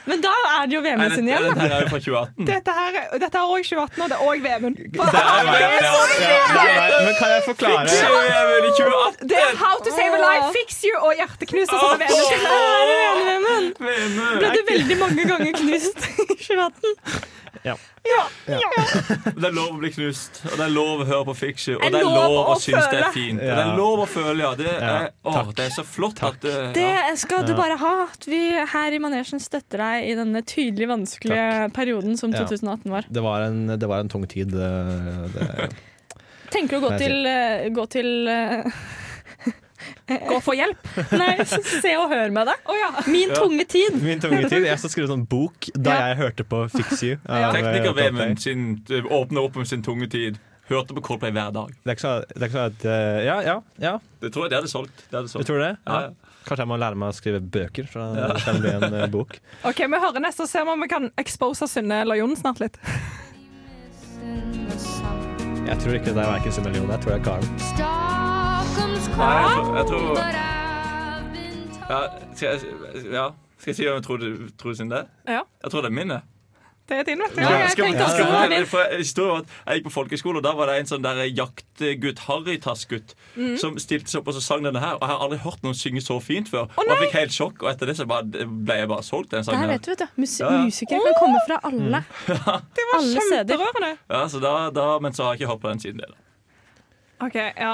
Speaker 7: Men da er det jo VM
Speaker 3: Nei,
Speaker 7: sin
Speaker 3: dette,
Speaker 7: igjen. da.
Speaker 3: dette her er jo fra 2018.
Speaker 4: Dette her er- dette er òg 2018, og det er òg Vemund.
Speaker 2: Det er altså. meg, ja. Nei, nei, Men kan jeg forklare?
Speaker 3: Vemund i 2018!
Speaker 4: Det er How to save a life, fix you og hjerteknuser som er Vemund.
Speaker 7: Ble
Speaker 3: Vemund!
Speaker 7: du veldig mange ganger knust i 2018?
Speaker 3: Det er lov å bli knust, og det er lov å høre på fiction, og
Speaker 7: Det er
Speaker 3: det er
Speaker 7: lov
Speaker 3: lov å
Speaker 7: å
Speaker 3: synes det
Speaker 7: føle.
Speaker 3: er fint. Og det
Speaker 2: Ja.
Speaker 3: er lov å føle, ja. Det er,
Speaker 2: Ja,
Speaker 3: åh,
Speaker 2: takk.
Speaker 3: det er så flott at det, ja.
Speaker 7: Det skal du bare ha. At vi her i manesjen støtter deg i denne tydelig vanskelige perioden som
Speaker 2: Ja.
Speaker 7: 2018 var.
Speaker 2: Det var en, det var en tung tid. eh, Det.
Speaker 7: Tenker du å gå
Speaker 2: Nei, jeg
Speaker 7: til, eh, gå til eh,
Speaker 4: Gå og få hjelp.
Speaker 7: Nei, se og hør med deg.
Speaker 4: Å ja.
Speaker 7: Min
Speaker 3: Ja.
Speaker 7: tunge tid.
Speaker 2: Min tunge tid. Jeg skal skrive en sånn bok da jeg hørte på Fix You. av, eh,
Speaker 3: Tekniker
Speaker 2: Coldplay.
Speaker 3: Vemund sin- eh, åpner opp om sin tunge tid. Hørte på Coldplay hver dag.
Speaker 2: Det er ikke så- det er ikke sånn at eh, Ja, ja, ja.
Speaker 3: Det tror jeg de hadde solgt. Det hadde
Speaker 2: Du
Speaker 3: solgt.
Speaker 2: tror det?
Speaker 3: Ja, ja.
Speaker 2: Kanskje jeg må lære meg å skrive bøker, så det kan bli en eh, bok.
Speaker 4: OK, vi hører neste og ser om vi kan expose Synne eller Jon snart litt.
Speaker 2: Jeg tror ikke det er verken Sum eller Jon. Jeg tror det er Karen.
Speaker 3: Nei, jeg tror, jeg tror ja, skal, jeg, ja. skal jeg si hvem jeg tror, du- tror sin det?
Speaker 4: Ja.
Speaker 3: Jeg tror det er min. jeg.
Speaker 4: Det er din, vet du.
Speaker 3: Skal-
Speaker 4: jeg
Speaker 3: skal-
Speaker 4: tenkte
Speaker 3: skal-
Speaker 4: også det var din.
Speaker 3: for jeg- historien var at Jeg gikk på folkeskole, og da var det en sånn der jaktgutt, harrytassgutt,
Speaker 7: Mm.
Speaker 3: som stilte seg opp og så sang denne her. Og jeg har aldri hørt noen synge så fint før. og jeg fikk helt sjokk, og etter det så bare, ble jeg bare solgt den sangen.
Speaker 7: Der
Speaker 3: her.
Speaker 7: vet du, vet du. Musi
Speaker 3: Ja, ja.
Speaker 7: Musikere kan komme fra alle.
Speaker 4: Det var
Speaker 7: Alle steder.
Speaker 4: kjemperørende.
Speaker 3: Ja, så da, da, men så har jeg ikke hørt på den siden det. da.
Speaker 4: OK, ja.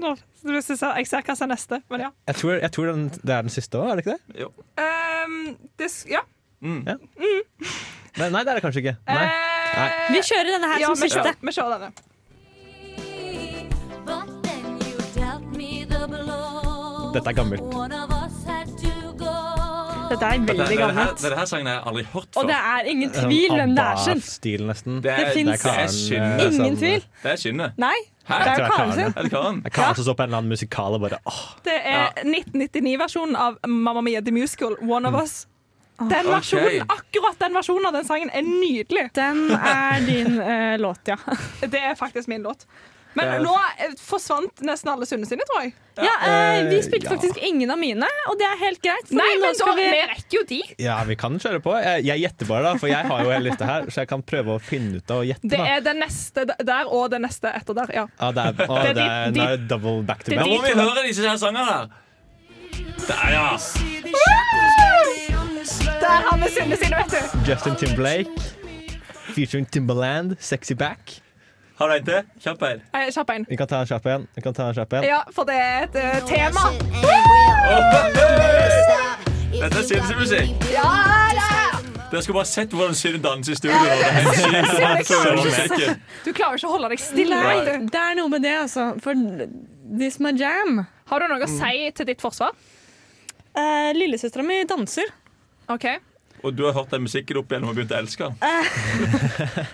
Speaker 4: Nå, jeg ser jeg ser hva som er neste, men ja.
Speaker 2: Jeg tror, jeg tror den, det er den siste òg, er det ikke det?
Speaker 3: Jo.
Speaker 4: Ehm, det, s- ja.
Speaker 2: Nei, nei, det er det kanskje ikke. Nei.
Speaker 4: Eh,
Speaker 7: Vi kjører denne her
Speaker 4: ja,
Speaker 7: som
Speaker 4: vi
Speaker 7: siste.
Speaker 4: kjører, vi kjører denne.
Speaker 2: Dette er gammelt.
Speaker 7: Dette er
Speaker 3: Dette,
Speaker 7: veldig
Speaker 3: denne, her,
Speaker 7: gammelt.
Speaker 3: denne her sangen har jeg aldri hørt før.
Speaker 7: Og det er ingen tvil hvem det er sin.
Speaker 2: Stil, nesten.
Speaker 3: Det er-
Speaker 7: det finnes-
Speaker 3: det er Karen, eh,
Speaker 7: Ingen
Speaker 2: som-
Speaker 7: tvil.
Speaker 3: Det er Skinne.
Speaker 7: Nei,
Speaker 3: Hæ?
Speaker 7: det er
Speaker 2: Jeg tror
Speaker 7: jo
Speaker 2: det er
Speaker 7: Karen sin.
Speaker 2: Karen,
Speaker 3: Er det Karen?
Speaker 2: Det er Karen som står på en eller annen musikal og bare åh.
Speaker 4: Det er 1999-versjonen av Mamma Mia The Musical, One of Us. Den versjonen, Akkurat den versjonen av den sangen er nydelig.
Speaker 7: Den er din eh, låt, ja.
Speaker 4: Det er faktisk min låt. Men nå eh, forsvant nesten alle sunne sine, tror jeg.
Speaker 7: Ja, eh, vi
Speaker 2: Eh,
Speaker 7: spilte
Speaker 2: ja.
Speaker 7: faktisk ingen av mine, og det er helt greit. fordi nå skal vi-
Speaker 4: rekker jo de.
Speaker 2: Ja, vi kan kjøre på. Jeg, jeg gjetter bare, da, for jeg har jo hele lista her. Så jeg kan prøve å finne ut av å gjette.
Speaker 4: Det
Speaker 2: Da.
Speaker 4: er den neste der og den neste etter der. ja.
Speaker 2: Ja, det er, å,
Speaker 4: det er
Speaker 2: det er,
Speaker 4: de-
Speaker 2: nå er det double back to
Speaker 4: det er
Speaker 2: back.
Speaker 3: Nå må vi høre disse her sangene her. Der, ja.
Speaker 4: Der har vi sunne sine, vet du.
Speaker 2: Justin Timberlake featuring Timberland, Sexy Back.
Speaker 3: Har du en til? Kjapp en.
Speaker 4: Eh, Kjapp en.
Speaker 2: Vi kan ta en kjapp en. Vi kan ta en kjapp en.
Speaker 4: Ja, for det er et eh, tema.
Speaker 3: Dette er Simsi-musikk.
Speaker 4: Ja, da!
Speaker 3: Dere skulle bare sett hvordan Synne danser i studio. nå. Det er helt sykt.
Speaker 4: Synne
Speaker 3: Føler
Speaker 4: klarer ikke-
Speaker 3: musikken.
Speaker 4: Du klarer ikke å holde deg stille.
Speaker 3: Nei.
Speaker 4: vet du.
Speaker 7: Det er noe med det, altså. For this my jam.
Speaker 4: Har du noe å si til ditt forsvar?
Speaker 7: Eh, Lillesøstera mi danser.
Speaker 4: OK.
Speaker 3: Og du har hørt den musikken opp igjennom og begynt å elske den.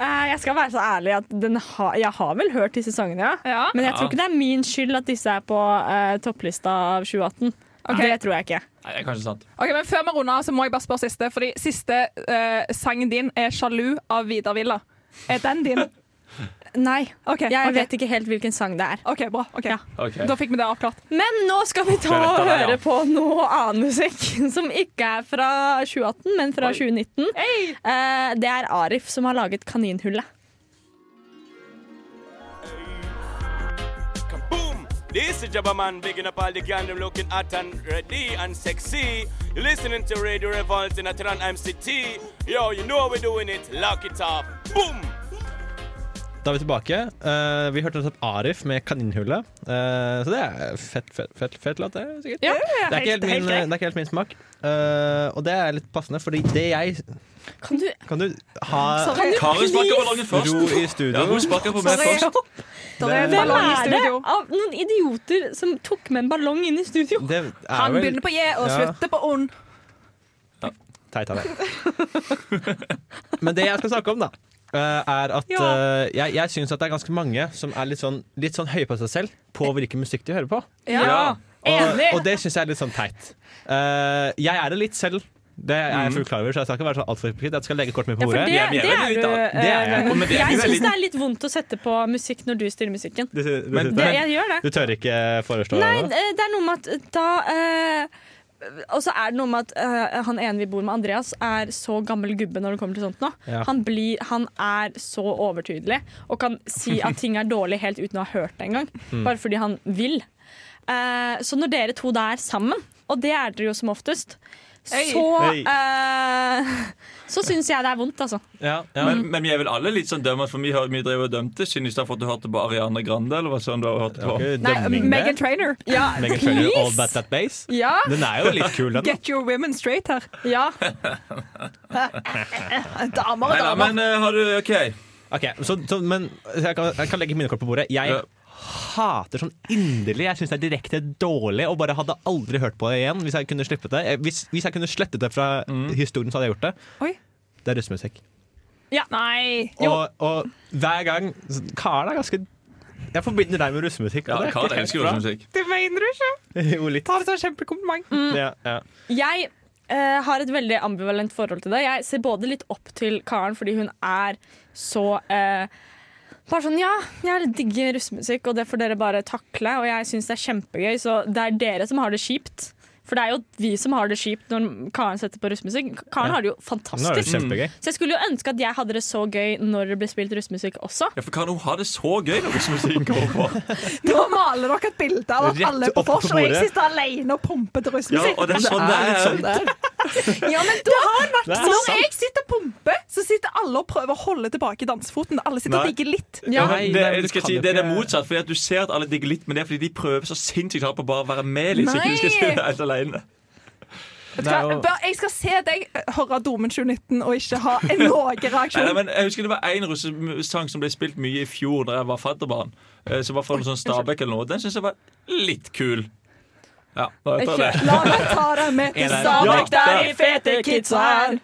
Speaker 7: Eh, jeg skal være så ærlig at den ha, jeg har vel hørt disse sangene, ja.
Speaker 4: Ja.
Speaker 7: Men jeg tror
Speaker 3: Ja.
Speaker 7: ikke det er min skyld at disse er på eh, topplista av 2018. Det tror jeg ikke.
Speaker 3: Nei, det er kanskje sant.
Speaker 4: Ok, men Før vi runder av, så må jeg bare spørre siste. Fordi siste eh, sangen din er 'Sjalu' av Vidar Villa. Er den din?
Speaker 7: Nei.
Speaker 4: OK,
Speaker 7: Jeg
Speaker 4: ok.
Speaker 7: vet ikke helt hvilken sang det er.
Speaker 4: Ok, bra. ok.
Speaker 3: Ok.
Speaker 4: Da fikk vi det avklart.
Speaker 7: Men nå skal vi ta
Speaker 3: Det er dette
Speaker 7: og
Speaker 3: her, ja.
Speaker 7: høre på noe annen musikk som ikke er fra 2018, men fra 2019. Eh, det er Arif som har laget 'Kaninhullet'.
Speaker 9: Boom! This is Jabba Man bigging up all the gandam looking hot and ready and sexy. You're listening to Radio Revolt in Atlanta MCT. Yo, you know how we're doing it. Lock it up. Boom!
Speaker 2: Da er vi tilbake. Eh, vi hørte nettopp Arif med 'Kaninhullet'. Eh, så det er fett, fett, fett, fett låt, det. er sikkert Det er ikke helt min, det er ikke helt min smak. Eh, og det er litt passende, fordi det jeg
Speaker 7: Kan du
Speaker 2: Kan du ha
Speaker 4: Sorry.
Speaker 3: Kari sparker ballongen først.
Speaker 2: ro i studio?
Speaker 3: Ja, hun sparker på meg først.
Speaker 4: Det er en
Speaker 7: Hvem
Speaker 4: ballong i
Speaker 7: er det
Speaker 4: studio.
Speaker 7: av noen idioter som tok med en ballong inn i studio?
Speaker 2: Det er
Speaker 4: Han
Speaker 2: vel
Speaker 4: begynner på J og
Speaker 2: Ja.
Speaker 4: slutter på ond.
Speaker 2: teit av deg. Men det jeg skal snakke om, da, eh, er at eh, jeg, jeg syns at det er ganske mange som er litt sånn, litt sånn høye på seg selv på hvilken musikk de hører på.
Speaker 3: Ja.
Speaker 2: Og, og det syns jeg er litt sånn teit. Eh, jeg er det litt selv. Det er jeg fullt klar over, så jeg skal ikke være sånn altfor hypokrit. Jeg skal legge kortet mitt på
Speaker 7: for
Speaker 2: bordet.
Speaker 7: det,
Speaker 3: Vi er- vi er
Speaker 7: det
Speaker 3: veldig
Speaker 7: er
Speaker 3: litt
Speaker 7: du.
Speaker 3: av-
Speaker 2: Det er jeg.
Speaker 7: eh,
Speaker 3: Men det er
Speaker 7: jeg
Speaker 3: vi
Speaker 7: syns
Speaker 3: veldig-
Speaker 7: det er litt vondt å sette på musikk når du styrer musikken.
Speaker 2: Du, du,
Speaker 3: Men-
Speaker 7: Det, jeg gjør det.
Speaker 2: du tør ikke foreslå
Speaker 7: Nei,
Speaker 2: det?
Speaker 7: eh, det er noe med at da eh, og så er det noe med at eh, han ene vi bor med, Andreas, er så gammel gubbe når det kommer til sånt nå.
Speaker 2: Ja.
Speaker 7: Han, blir, han er så overtydelig og kan si at ting er dårlig helt uten å ha hørt det engang. Bare fordi han vil. Eh, så når dere to da er sammen, og det er dere jo som oftest,
Speaker 4: Hey.
Speaker 7: så
Speaker 2: Hey.
Speaker 7: eh, Så syns jeg det er vondt, altså.
Speaker 2: Ja, ja.
Speaker 3: Men, men vi er vel alle litt sånn dømmende, for vi, har, vi drev og dømte Synnestad for at du hørte på Ariana Grande, eller hva sånn du har hørt
Speaker 2: Det var
Speaker 3: på?
Speaker 2: ikke
Speaker 4: Nei,
Speaker 2: dømming,
Speaker 4: Megan
Speaker 2: det.
Speaker 4: Trainer.
Speaker 2: Megan Trainor, All
Speaker 7: please.
Speaker 2: About That Bass.
Speaker 4: Ja.
Speaker 2: Den er jo litt kul, den. da.
Speaker 4: Get your women straight her.
Speaker 7: Ja.
Speaker 4: Damer og
Speaker 3: Nei da,
Speaker 4: damer.
Speaker 3: men eh, har du OK.
Speaker 2: Ok, så, så, men så jeg kan, jeg kan legge mine kort på bordet. Jeg
Speaker 3: Ja.
Speaker 2: hater sånn inderlig. Jeg syns det er direkte dårlig og bare hadde aldri hørt på det igjen hvis jeg kunne slippet det. Jeg- Hvis, hvis jeg kunne slettet det fra
Speaker 3: Mm.
Speaker 2: historien, så hadde jeg gjort det.
Speaker 4: Oi.
Speaker 2: Det er russemusikk.
Speaker 4: Ja, nei. Jo.
Speaker 2: Og, og hver gang så- Karen er ganske Jeg forbinder deg med russemusikk.
Speaker 3: Ja,
Speaker 2: og det er ikke
Speaker 3: Karen
Speaker 2: helt
Speaker 3: elsker jo
Speaker 2: bra.
Speaker 3: sånn musikk.
Speaker 4: Det mener du ikke.
Speaker 2: jo, litt.
Speaker 4: Ta det som en kjempekompliment. Mm.
Speaker 2: Ja, ja.
Speaker 7: Jeg eh, har et veldig ambivalent forhold til det. Jeg ser både litt opp til Karen fordi hun er så eh, bare sånn, ja, jeg digger russemusikk, og det får dere bare takle. Og jeg syns det er kjempegøy, så det er dere som har det kjipt. For det er jo vi som har det kjipt når Karen setter på russemusikk. Karen
Speaker 2: Ja.
Speaker 7: har det jo
Speaker 2: Nå er det
Speaker 7: fantastisk.
Speaker 2: kjempegøy.
Speaker 4: Mm.
Speaker 7: Så jeg skulle jo ønske at jeg hadde det så gøy når det ble spilt russemusikk også.
Speaker 3: Ja, for Karen hun har det så gøy når russemusikken kommer på.
Speaker 4: Nå maler dere et bilde av at
Speaker 2: Rett
Speaker 4: alle er på
Speaker 2: opp på
Speaker 4: vors, og jeg
Speaker 2: bordet.
Speaker 4: sitter alene og pumper til
Speaker 3: Ja,
Speaker 4: russmusikk.
Speaker 3: og det er sånn det er.
Speaker 4: Ja, men da,
Speaker 2: Det er
Speaker 4: når
Speaker 2: sant.
Speaker 4: jeg sitter og pumper, så sitter alle og prøver å holde tilbake dansefoten. Alle sitter
Speaker 3: Nei.
Speaker 4: og digger litt.
Speaker 3: Ja, men
Speaker 2: Nei, nei,
Speaker 3: det,
Speaker 2: men
Speaker 3: jeg
Speaker 2: du
Speaker 3: skal
Speaker 2: kan
Speaker 3: si,
Speaker 2: jo
Speaker 3: det er det
Speaker 2: ikke-
Speaker 3: motsatt, fordi at du ser at alle digger litt, men det er fordi de prøver så sinnssykt hardt på bare å være med litt, så ikke de skal
Speaker 4: Nei.
Speaker 3: spille helt alene.
Speaker 4: Vet du
Speaker 2: Det er
Speaker 4: hva?
Speaker 2: jo-
Speaker 4: Bare- Jeg skal se deg høre Domen 2019 og ikke ha en
Speaker 3: Nei,
Speaker 4: noe
Speaker 3: nei,
Speaker 4: reaksjon.
Speaker 3: men jeg husker det var én russesang som ble spilt mye i fjor da jeg var fadderbarn. eh, Som var fra en sånn Stabæk eller noe. Den syns jeg var litt kul. Ja, da tar jeg det.
Speaker 4: La meg ta deg med til Stabæk,
Speaker 3: Ja,
Speaker 4: der
Speaker 3: der.
Speaker 4: de fete kidsa er.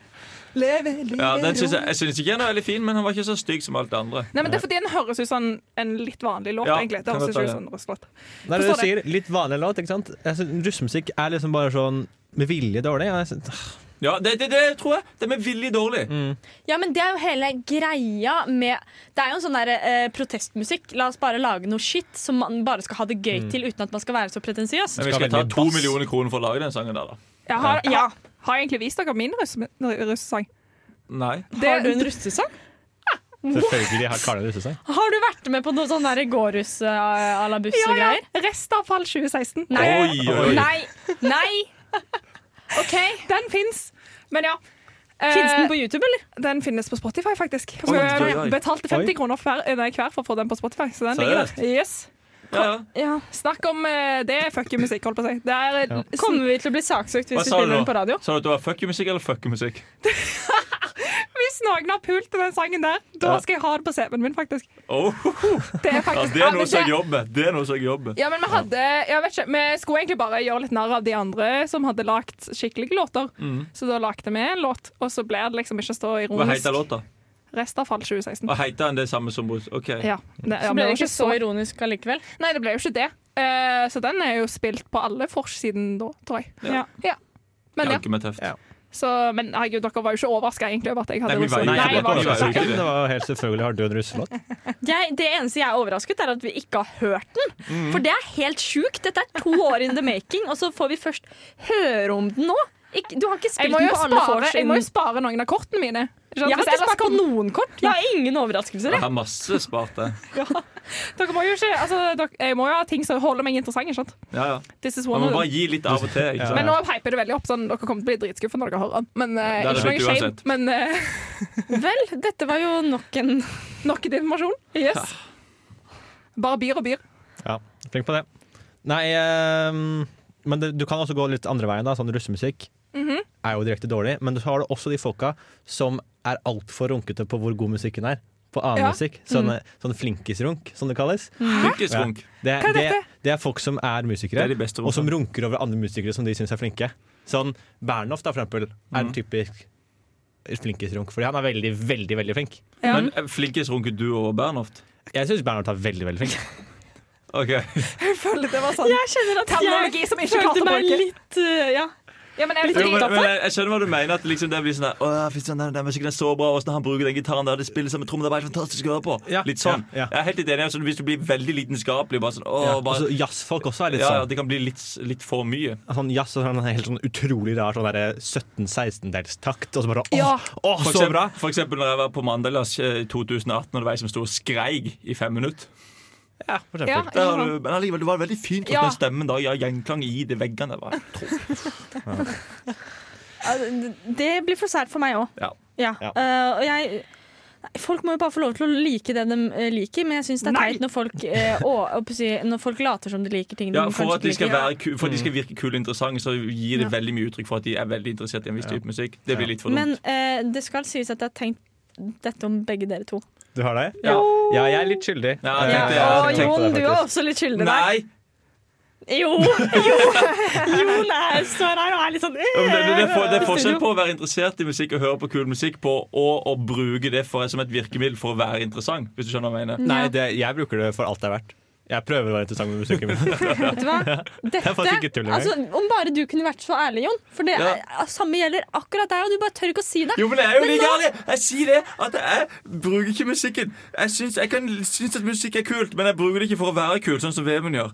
Speaker 4: Leve
Speaker 3: Ja, den
Speaker 4: livet
Speaker 3: synes jeg, jeg synes ikke den er veldig fin, men han var ikke så stygg som alt det andre.
Speaker 4: Nei, men Det er fordi den høres ut som en litt vanlig låt,
Speaker 3: Ja,
Speaker 4: egentlig. Det
Speaker 3: kan
Speaker 4: høres
Speaker 3: godt
Speaker 4: ikke ut
Speaker 3: være.
Speaker 4: som en russelåt.
Speaker 2: Det er det du
Speaker 4: Forstår
Speaker 2: sier. Litt vanlig låt, ikke sant? Jeg synes Russemusikk er liksom bare sånn med vilje dårlig. Jeg synes,
Speaker 3: Ja, det, det, det tror jeg. De er villig dårlig.
Speaker 7: Ja, men det er jo hele greia med Det er jo en sånn der eh, protestmusikk. La oss bare lage noe shit som man bare skal ha
Speaker 4: Mm.
Speaker 7: det gøy til uten at man skal være så pretensiøs.
Speaker 3: Men vi
Speaker 2: Skal
Speaker 3: skal ta
Speaker 2: veldig
Speaker 3: to
Speaker 2: bass.
Speaker 3: millioner kroner for å lage den sangen der, da.
Speaker 4: Jeg har, ja. har jeg egentlig vist dere min russe- russesang?
Speaker 3: Nei.
Speaker 7: Har du en russesang?
Speaker 2: Selvfølgelig har Karne ruset seg.
Speaker 7: Har du vært med på noe sånn der gåruss eh, à
Speaker 4: Ja,
Speaker 7: la
Speaker 4: ja.
Speaker 7: busse-greier?
Speaker 4: Restavfall 2016.
Speaker 7: Nei.
Speaker 3: Oi, oi, oi.
Speaker 7: Nei! Nei! OK.
Speaker 4: Den fins, men ja.
Speaker 7: Fins den
Speaker 4: Eh,
Speaker 7: på YouTube, eller?
Speaker 4: den finnes på Spotify, faktisk.
Speaker 3: Oi,
Speaker 4: Eh,
Speaker 3: oi, oi.
Speaker 4: Betalte 50 kroner hver, eh, nei, hver for å få den på Spotify. Så den ligger
Speaker 3: Seriøst?
Speaker 4: der. Yes.
Speaker 3: Ja, ja.
Speaker 4: Ja. Snakk om eh, Det er fuck you musikk, holdt på å si. Det er eh, sånn-
Speaker 7: Kommer vi til å bli saksøkt hvis
Speaker 3: Hva
Speaker 7: vi
Speaker 3: sa du
Speaker 7: spiller
Speaker 3: nå?
Speaker 7: den på radio?
Speaker 3: Sa du at det var fuck you-musikk eller fuck you-musikk?
Speaker 4: Hvis noen har pult til den sangen der, da
Speaker 3: Ja.
Speaker 4: skal jeg ha det på CV-en min, faktisk.
Speaker 3: Oh,
Speaker 4: Det er
Speaker 3: ja,
Speaker 4: faktisk
Speaker 3: det er
Speaker 4: men
Speaker 3: noe som jeg jobber. Det er noe som jeg jobber.
Speaker 4: Ja, men vi hadde Jeg vet ikke, vi skulle egentlig bare gjøre litt narr av de andre som hadde lagt skikkelige låter. Så da lagde vi en låt, og så ble det liksom ikke så
Speaker 3: Hva heter
Speaker 4: ironisk.
Speaker 3: låta?
Speaker 4: Restavfall 2016.
Speaker 3: Hva heter den det samme som Bruce? Ok.
Speaker 4: Ja, det, ja, men
Speaker 7: Så ble
Speaker 4: var
Speaker 7: det ikke så ironisk allikevel.
Speaker 4: Nei, det ble jo ikke det. Eh, så den er jo spilt på alle forsiden da, tror jeg.
Speaker 7: Ja.
Speaker 4: Ja. Men ja,
Speaker 3: Janke med teft.
Speaker 2: Ja.
Speaker 4: så, men herregud, dere var jo ikke overraska egentlig over at jeg hadde
Speaker 3: Nei, vi var jo
Speaker 4: russe-
Speaker 3: ikke
Speaker 4: Nei,
Speaker 3: det. Vi var
Speaker 4: var
Speaker 3: jo
Speaker 4: ikke
Speaker 3: ikke
Speaker 4: det.
Speaker 2: Det var jo helt selvfølgelig har du en russelåt.
Speaker 7: Jeg, det eneste jeg er overrasket, er at vi ikke har hørt den.
Speaker 4: Mm.
Speaker 7: For det er helt sjukt. Dette er to år in the making, og så får vi først høre om den nå. Ikk- du har ikke
Speaker 4: Jeg
Speaker 7: spilt
Speaker 4: må,
Speaker 7: den
Speaker 4: jo
Speaker 7: på alle
Speaker 4: spare,
Speaker 7: vors
Speaker 4: jeg må jo
Speaker 7: siden.
Speaker 4: spare noen av kortene mine. Ikke sant?
Speaker 7: Jeg har
Speaker 4: Hvis
Speaker 7: ikke
Speaker 4: ellers
Speaker 7: spart på
Speaker 4: kom-
Speaker 7: noen kort. Jeg har ingen overraskelser.
Speaker 3: Jeg
Speaker 7: jeg.
Speaker 3: har masse spart det.
Speaker 4: Dere må jo ikke altså, dere, Jeg må jo ha ting som holder meg interessant. Ikke sant?
Speaker 3: Ja, ja.
Speaker 4: This is
Speaker 3: Man
Speaker 4: one
Speaker 3: må
Speaker 4: of
Speaker 3: bare
Speaker 4: them.
Speaker 3: gi litt av og til. Ikke sant?
Speaker 4: Men nå hyper det veldig opp, sånn dere kommer til å bli dritskuffet når dere hører den. Men eh,
Speaker 3: Det er
Speaker 4: ikke
Speaker 3: det
Speaker 4: noe shame.
Speaker 3: uansett.
Speaker 4: Men eh,
Speaker 7: Vel, dette var jo nok en
Speaker 4: nok informasjon. Yes. Bare byr og byr.
Speaker 2: Ja, flink på det. Nei, ehm, men det, du kan også gå litt andre veien, da. Sånn russemusikk
Speaker 4: Mhm.
Speaker 2: er jo direkte dårlig. Men så har du også de folka som er altfor runkete på hvor god musikken er. På annen
Speaker 4: Ja. Mhm.
Speaker 2: musikk. Sånne, sånn flinkisrunk, som det kalles.
Speaker 3: Funkisrunk.
Speaker 2: Det, er-
Speaker 4: Hva er
Speaker 2: det,
Speaker 4: dette?
Speaker 2: det er folk som er musikere,
Speaker 3: Det er de beste
Speaker 2: og som runker over andre musikere som de syns er flinke. Sånn Bernhoft, da, for eksempel, er
Speaker 3: Mhm.
Speaker 2: en typisk flinkisrunk, fordi han er veldig, veldig veldig flink.
Speaker 4: Ja.
Speaker 3: Men eh, flinkest runker du og Bernhoft?
Speaker 2: Jeg syns Bernhoft er veldig, veldig flink.
Speaker 3: Ok.
Speaker 4: Jeg føler det var sånn
Speaker 7: Jeg kjenner at
Speaker 4: Terminologi som jeg ikke klarte å
Speaker 7: meg
Speaker 4: bruke.
Speaker 7: litt uh, ja.
Speaker 4: Ja, men jeg
Speaker 7: Litt
Speaker 4: vet
Speaker 3: Jo, men,
Speaker 4: ikke.
Speaker 3: men jeg, jeg skjønner hva du mener. At liksom det blir sånn der, Åh, fy søren, den, den musikken er så bra. Og sånn, han bruker den gitaren der, det spiller som en tromme. Det er bare helt fantastisk å høre på.
Speaker 2: Ja,
Speaker 3: Litt sånn.
Speaker 2: ja, ja.
Speaker 3: Jeg er helt enig. Altså, hvis du blir veldig litenskapelig, bare sånn Åh,
Speaker 2: Ja.
Speaker 3: bare,
Speaker 2: Også Altså, jazzfolk også er litt
Speaker 3: ja, ja,
Speaker 2: sånn.
Speaker 3: det kan bli litt, litt for mye.
Speaker 2: sånn jazz og sånn helt sånn utrolig rar sånn derre 17-16-delstakt, og så bare åh,
Speaker 4: Ja.
Speaker 2: åh
Speaker 3: For
Speaker 2: så
Speaker 3: eksempel,
Speaker 2: bra!
Speaker 3: for eksempel når jeg var på Mandalas eh, i 2018, og det var ei som sto og skreik i fem minutter.
Speaker 2: Ja, for eksempel.
Speaker 4: Ja,
Speaker 3: Der,
Speaker 4: ikke
Speaker 3: har
Speaker 4: sant?
Speaker 3: du- men allikevel, det var veldig fint
Speaker 4: Ja.
Speaker 3: ja. den stemmen da. Ja, gjenklang i de veggene. Var.
Speaker 7: Det blir for sært for meg òg.
Speaker 3: Ja.
Speaker 7: Ja.
Speaker 2: Ja.
Speaker 7: eh, og jeg Nei, Folk må jo bare få lov til å like det de eh, liker, men jeg syns det er
Speaker 4: Nei!
Speaker 7: teit når folk, eh, å, å si- når folk later som de liker ting de
Speaker 3: Ja, for
Speaker 7: kanskje
Speaker 3: at de
Speaker 7: ikke
Speaker 3: skal,
Speaker 7: liker.
Speaker 3: være, ku- for at de skal virke kule og interessante, så gir det veldig mye uttrykk for at de er veldig interessert i en viss type musikk. Det blir litt for
Speaker 7: Men
Speaker 3: dumt.
Speaker 7: eh, det skal sies at jeg har tenkt dette om begge dere to.
Speaker 2: Du har det?
Speaker 3: Ja.
Speaker 2: Ja, jeg er litt skyldig.
Speaker 3: Ja,
Speaker 2: Eh,
Speaker 3: tenkte jeg-
Speaker 2: jeg
Speaker 3: Å,
Speaker 2: tenkte på det, faktisk.
Speaker 7: også litt skyldig
Speaker 3: Nei!
Speaker 7: Jo! Jo, jo nei, jeg står her og er litt sånn
Speaker 3: Ja, men Det, det, det, er for, det er
Speaker 7: i
Speaker 3: forskjell
Speaker 7: studio.
Speaker 3: på å være interessert i musikk og høre på kul musikk på og å bruke det for, som et virkemiddel for å være interessant. Hvis du skjønner hva jeg mener.
Speaker 2: Nei, det, jeg bruker det for alt det er verdt. Jeg prøver å være interessant med musikken min.
Speaker 7: Vet du hva? Dette,
Speaker 2: faktisk ikke tull engang.
Speaker 7: altså, om bare du kunne vært så ærlig, Jon. For det
Speaker 3: Ja.
Speaker 7: er, samme gjelder akkurat deg, og du bare tør ikke å si det.
Speaker 3: Jo, men jeg er jo
Speaker 7: Men
Speaker 3: like
Speaker 7: nå-
Speaker 3: ærlig! Jeg sier det at jeg bruker ikke musikken. Jeg syns, jeg kan, syns at musikk er kult, men jeg bruker det ikke for å være kul, sånn som Vemund gjør.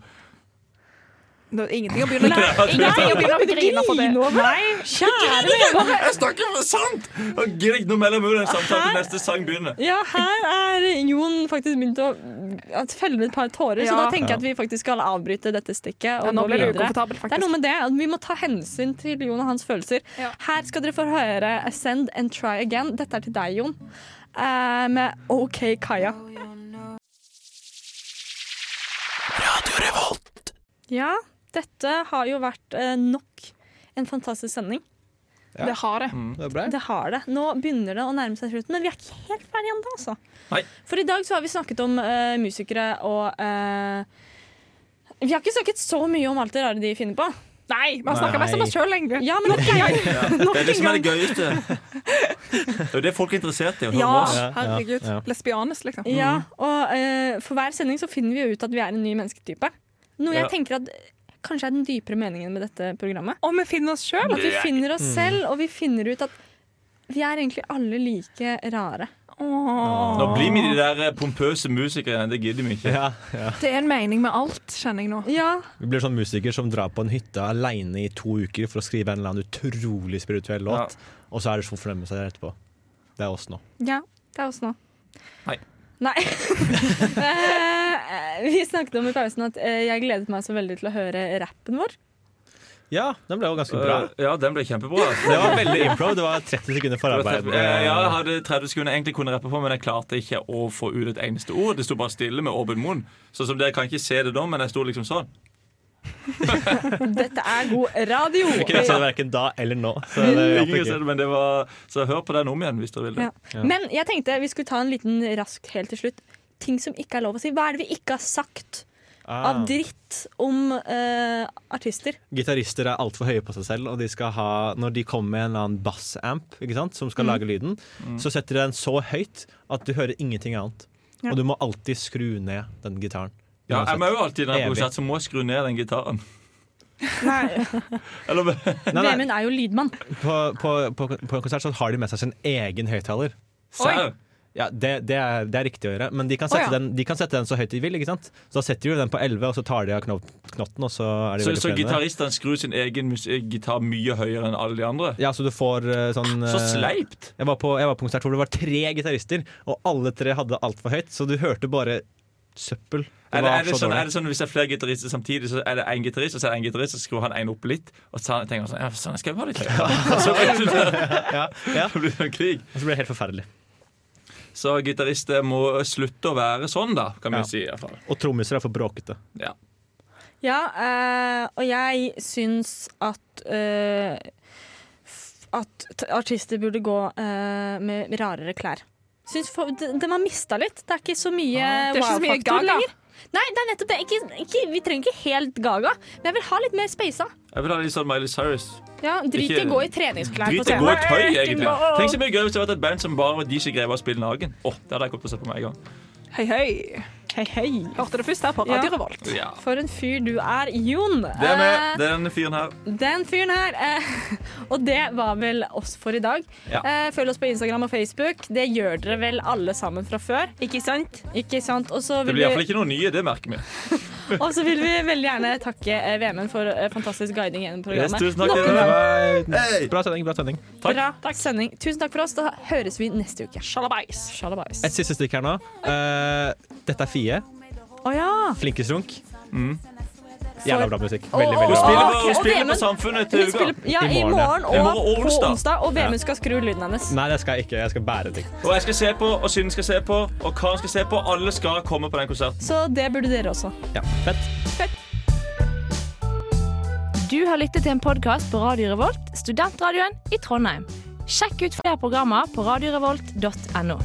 Speaker 4: Det er ingenting å begynne
Speaker 3: Nei,
Speaker 4: å Ingenting å begynne å grine på det.
Speaker 7: Grin over det. Kjære vene.
Speaker 3: Jeg snakker for sant! Og Gidder ikke noe mellom mulig samtale til neste sang begynner.
Speaker 7: Ja, her er Jon faktisk begynt å å felle et par tårer, så
Speaker 4: Ja.
Speaker 7: da tenker jeg at vi faktisk skal avbryte dette stikket.
Speaker 4: Ja,
Speaker 7: Og
Speaker 4: nå
Speaker 7: gå
Speaker 4: blir det
Speaker 7: videre.
Speaker 4: ukomfortabelt,
Speaker 7: Det er
Speaker 4: faktisk.
Speaker 7: noe med det, at Vi må ta hensyn til Jon og hans følelser.
Speaker 4: Ja.
Speaker 7: Her skal dere få høre 'Ascend and Try Again'. Dette er til deg, Jon. eh, med OK Kaja. Ja, dette har jo vært eh, nok en fantastisk sending.
Speaker 4: Det har det.
Speaker 2: Mm, Det er bra.
Speaker 7: Det har det. Nå begynner det å nærme seg slutten, men vi er ikke helt ferdige ennå. Altså.
Speaker 3: Nei.
Speaker 7: For i dag så har vi snakket om eh, musikere og eh, Vi har ikke snakket så mye om alt det rare de finner på.
Speaker 4: Nei, vi har snakka mest om oss sjøl, egentlig.
Speaker 7: Ja, men nok en gang. Nok
Speaker 3: Det er det
Speaker 7: en
Speaker 3: som er
Speaker 7: gang.
Speaker 3: det gøyeste. Det er jo det folk er interessert i. å høre
Speaker 4: Ja,
Speaker 3: om oss.
Speaker 2: Ja,
Speaker 4: herregud.
Speaker 2: ja, ja.
Speaker 4: Lesbianes, liksom.
Speaker 3: Mm.
Speaker 7: Ja, og eh, for hver sending så finner vi jo ut at vi er en ny mennesketype. Noe
Speaker 3: Ja.
Speaker 7: jeg tenker at kanskje er den dypere meningen med dette programmet.
Speaker 4: Og vi finner oss sjøl.
Speaker 7: At vi finner
Speaker 3: Mm.
Speaker 7: oss selv, og vi finner ut at vi er egentlig alle like rare.
Speaker 3: Nå blir vi de der eh, pompøse musikere igjen. Det gidder vi ikke.
Speaker 2: Ja, ja.
Speaker 4: Det er en mening med alt, kjenner jeg nå.
Speaker 7: Ja,
Speaker 2: Vi blir sånn musiker som drar på en hytte aleine i to uker for å skrive en eller annen utrolig spirituell låt, og så er det så fornøyd med seg etterpå. Det er oss nå.
Speaker 7: ja det er oss nå.
Speaker 3: Nei.
Speaker 7: Nei. Eh, vi snakket om i pausen at eh, jeg gledet meg så veldig til å høre rappen vår.
Speaker 2: Ja, den ble jo ganske bra.
Speaker 3: Eh, Ja, den ble kjempebra. altså.
Speaker 2: Det var veldig improv. Det var 30 sekunder
Speaker 3: Det var
Speaker 2: forarbeid.
Speaker 3: tretti- Eh, Ja, jeg hadde 30 sekunder jeg egentlig kunne rappe på, men jeg klarte ikke å få ut et eneste ord. Det sto bare stille med åpen munn. Sånn som Dere kan ikke se det da, men jeg sto liksom sånn.
Speaker 7: Dette er god radio.
Speaker 2: Ikke rett sånn verken da eller nå. Så det
Speaker 3: Jeg
Speaker 2: hjalp
Speaker 3: liker ikke å se
Speaker 2: ikke.
Speaker 3: det, men det var, så hør på den om igjen hvis dere vil det.
Speaker 7: Ja. Men jeg tenkte vi skulle ta en liten raskt helt til slutt. Ting som ikke er lov å si. Hva er det vi ikke har sagt
Speaker 2: Ah.
Speaker 7: av dritt om eh, artister?
Speaker 2: Gitarister er altfor høye på seg selv, og de skal ha, når de kommer med en eller annen bassamp ikke sant, som skal lage lyden,
Speaker 3: Mm.
Speaker 2: så setter de den så høyt at du hører ingenting annet. Og du må alltid skru ned den gitaren.
Speaker 3: Ja, jeg må jo alltid når jeg er på
Speaker 2: Evig.
Speaker 3: konsert, så må jeg skru ned den gitaren.
Speaker 7: Nei.
Speaker 3: Eller,
Speaker 2: Nei, nei,
Speaker 7: Vemund er jo lydmann.
Speaker 2: på, på, på, på en konsert så har de med seg sin egen høyttaler.
Speaker 3: sau.
Speaker 2: Ja, det, det, er, det er riktig å gjøre, men de kan, sette
Speaker 4: ja.
Speaker 2: den, de kan sette den så høyt de vil. ikke sant? Så Da setter de jo den på 11, og så tar de av knop, knotten, og så er de
Speaker 3: Så,
Speaker 2: veldig
Speaker 3: så
Speaker 2: fornøyde med det.
Speaker 3: gitaristene skrur sin egen mus- eh, gitar mye høyere enn alle de andre?
Speaker 2: Ja, så du får eh, sånn
Speaker 3: Så
Speaker 2: eh,
Speaker 3: sleipt!
Speaker 2: Jeg var, på, jeg var på konsert hvor det var tre gitarister, og alle tre hadde altfor høyt, så du hørte bare søppel. Det
Speaker 3: Er det,
Speaker 2: var
Speaker 3: er, det
Speaker 2: så
Speaker 3: sånn, er
Speaker 2: dårlig.
Speaker 3: det sånn Hvis det er flere gitarister samtidig, så er det én gitarist, og så er det en gitarist, så skrur han en opp litt, og så tenker han sånn Ja, sånn skal jeg være litt høyere. Så blir det
Speaker 2: Ja, ja.
Speaker 3: så blir det en krig.
Speaker 2: Og så ble det helt forferdelig.
Speaker 3: Så gitarister må slutte å være sånn, da, kan vi
Speaker 2: Ja.
Speaker 3: jo si. i hvert fall.
Speaker 2: Og trommiser er for bråkete.
Speaker 3: Ja.
Speaker 7: Ja, eh, og jeg syns at eh, f- at t- artister burde gå eh, med rarere klær. Syns for, de, de har mista litt. Det er ikke så mye
Speaker 4: det er ikke så mye
Speaker 7: wow-faktor
Speaker 4: gaga.
Speaker 7: lenger. Nei, det er nettopp det. Ikke, ikke, vi trenger ikke helt gaga, men jeg vil ha litt mer speisa.
Speaker 3: Jeg vil ha litt sånn Miley Cyrus.
Speaker 7: Ja, Drit i
Speaker 3: Ikke-
Speaker 7: å gå i treningsklær på
Speaker 3: Drit i gå i
Speaker 7: scenen.
Speaker 3: tøy, egentlig. Tenk så mye gøy hvis det hadde vært et band som bare de ikke greide å spille naken. Åh, det hadde jeg gått og sett på meg en gang.
Speaker 4: Hei, hei.
Speaker 7: Hei, hei.
Speaker 4: Hørte det først her på Radio
Speaker 7: Ja.
Speaker 4: Revolt.
Speaker 3: Ja.
Speaker 7: For en fyr du er, Jon.
Speaker 3: Det er med.
Speaker 7: Eh,
Speaker 3: Det er denne fyren her.
Speaker 7: Den fyren her. Eh, og det var vel oss for i dag.
Speaker 3: Ja.
Speaker 7: Eh, følg oss på Instagram og Facebook. Det gjør dere vel alle sammen fra før.
Speaker 4: Ikke sant?
Speaker 7: Ikke sant? Og så
Speaker 3: Det
Speaker 7: vil,
Speaker 3: blir iallfall
Speaker 7: vi-
Speaker 3: ikke noe nye, det merker vi.
Speaker 7: og så vil vi veldig gjerne takke eh, Vemund for eh, fantastisk guiding gjennom
Speaker 3: Yes,
Speaker 7: programmet.
Speaker 3: tusen takk. til dere. Hei.
Speaker 2: Bra sending, bra sending.
Speaker 3: takk.
Speaker 7: Bra sending. Tusen takk for oss. Da høres vi neste uke.
Speaker 4: Sjalabais.
Speaker 7: Shalabais.
Speaker 2: Et siste stikk her nå. Eh, dette er Fie.
Speaker 7: Å ja!
Speaker 2: Flinkesrunk.
Speaker 3: Mm.
Speaker 2: Jævla bra musikk.
Speaker 7: Å,
Speaker 2: Veldig,
Speaker 3: Hun
Speaker 7: å,
Speaker 2: veldig
Speaker 7: å,
Speaker 2: bra.
Speaker 3: spiller
Speaker 7: Ok,
Speaker 3: på, hun
Speaker 7: og
Speaker 3: spiller på
Speaker 7: Vemund-
Speaker 3: Samfunnet
Speaker 7: Hun
Speaker 3: til uka.
Speaker 7: spiller ja,
Speaker 2: I
Speaker 7: i morgen
Speaker 2: morgen.
Speaker 7: og
Speaker 3: I morgen og
Speaker 7: på
Speaker 3: onsdag.
Speaker 7: onsdag, og Vemund skal skru lyden hennes.
Speaker 2: Nei, det skal jeg ikke. Jeg skal bære ting.
Speaker 3: Og jeg skal se på, og Synne skal se på, og Karen skal se på. Alle skal komme på den konserten.
Speaker 7: Så det burde dere også.
Speaker 2: Ja, fett.
Speaker 5: Du har lyttet til en podkast på Radio Revolt, studentradioen i Trondheim. Sjekk ut flere programmer på radiorevolt.no.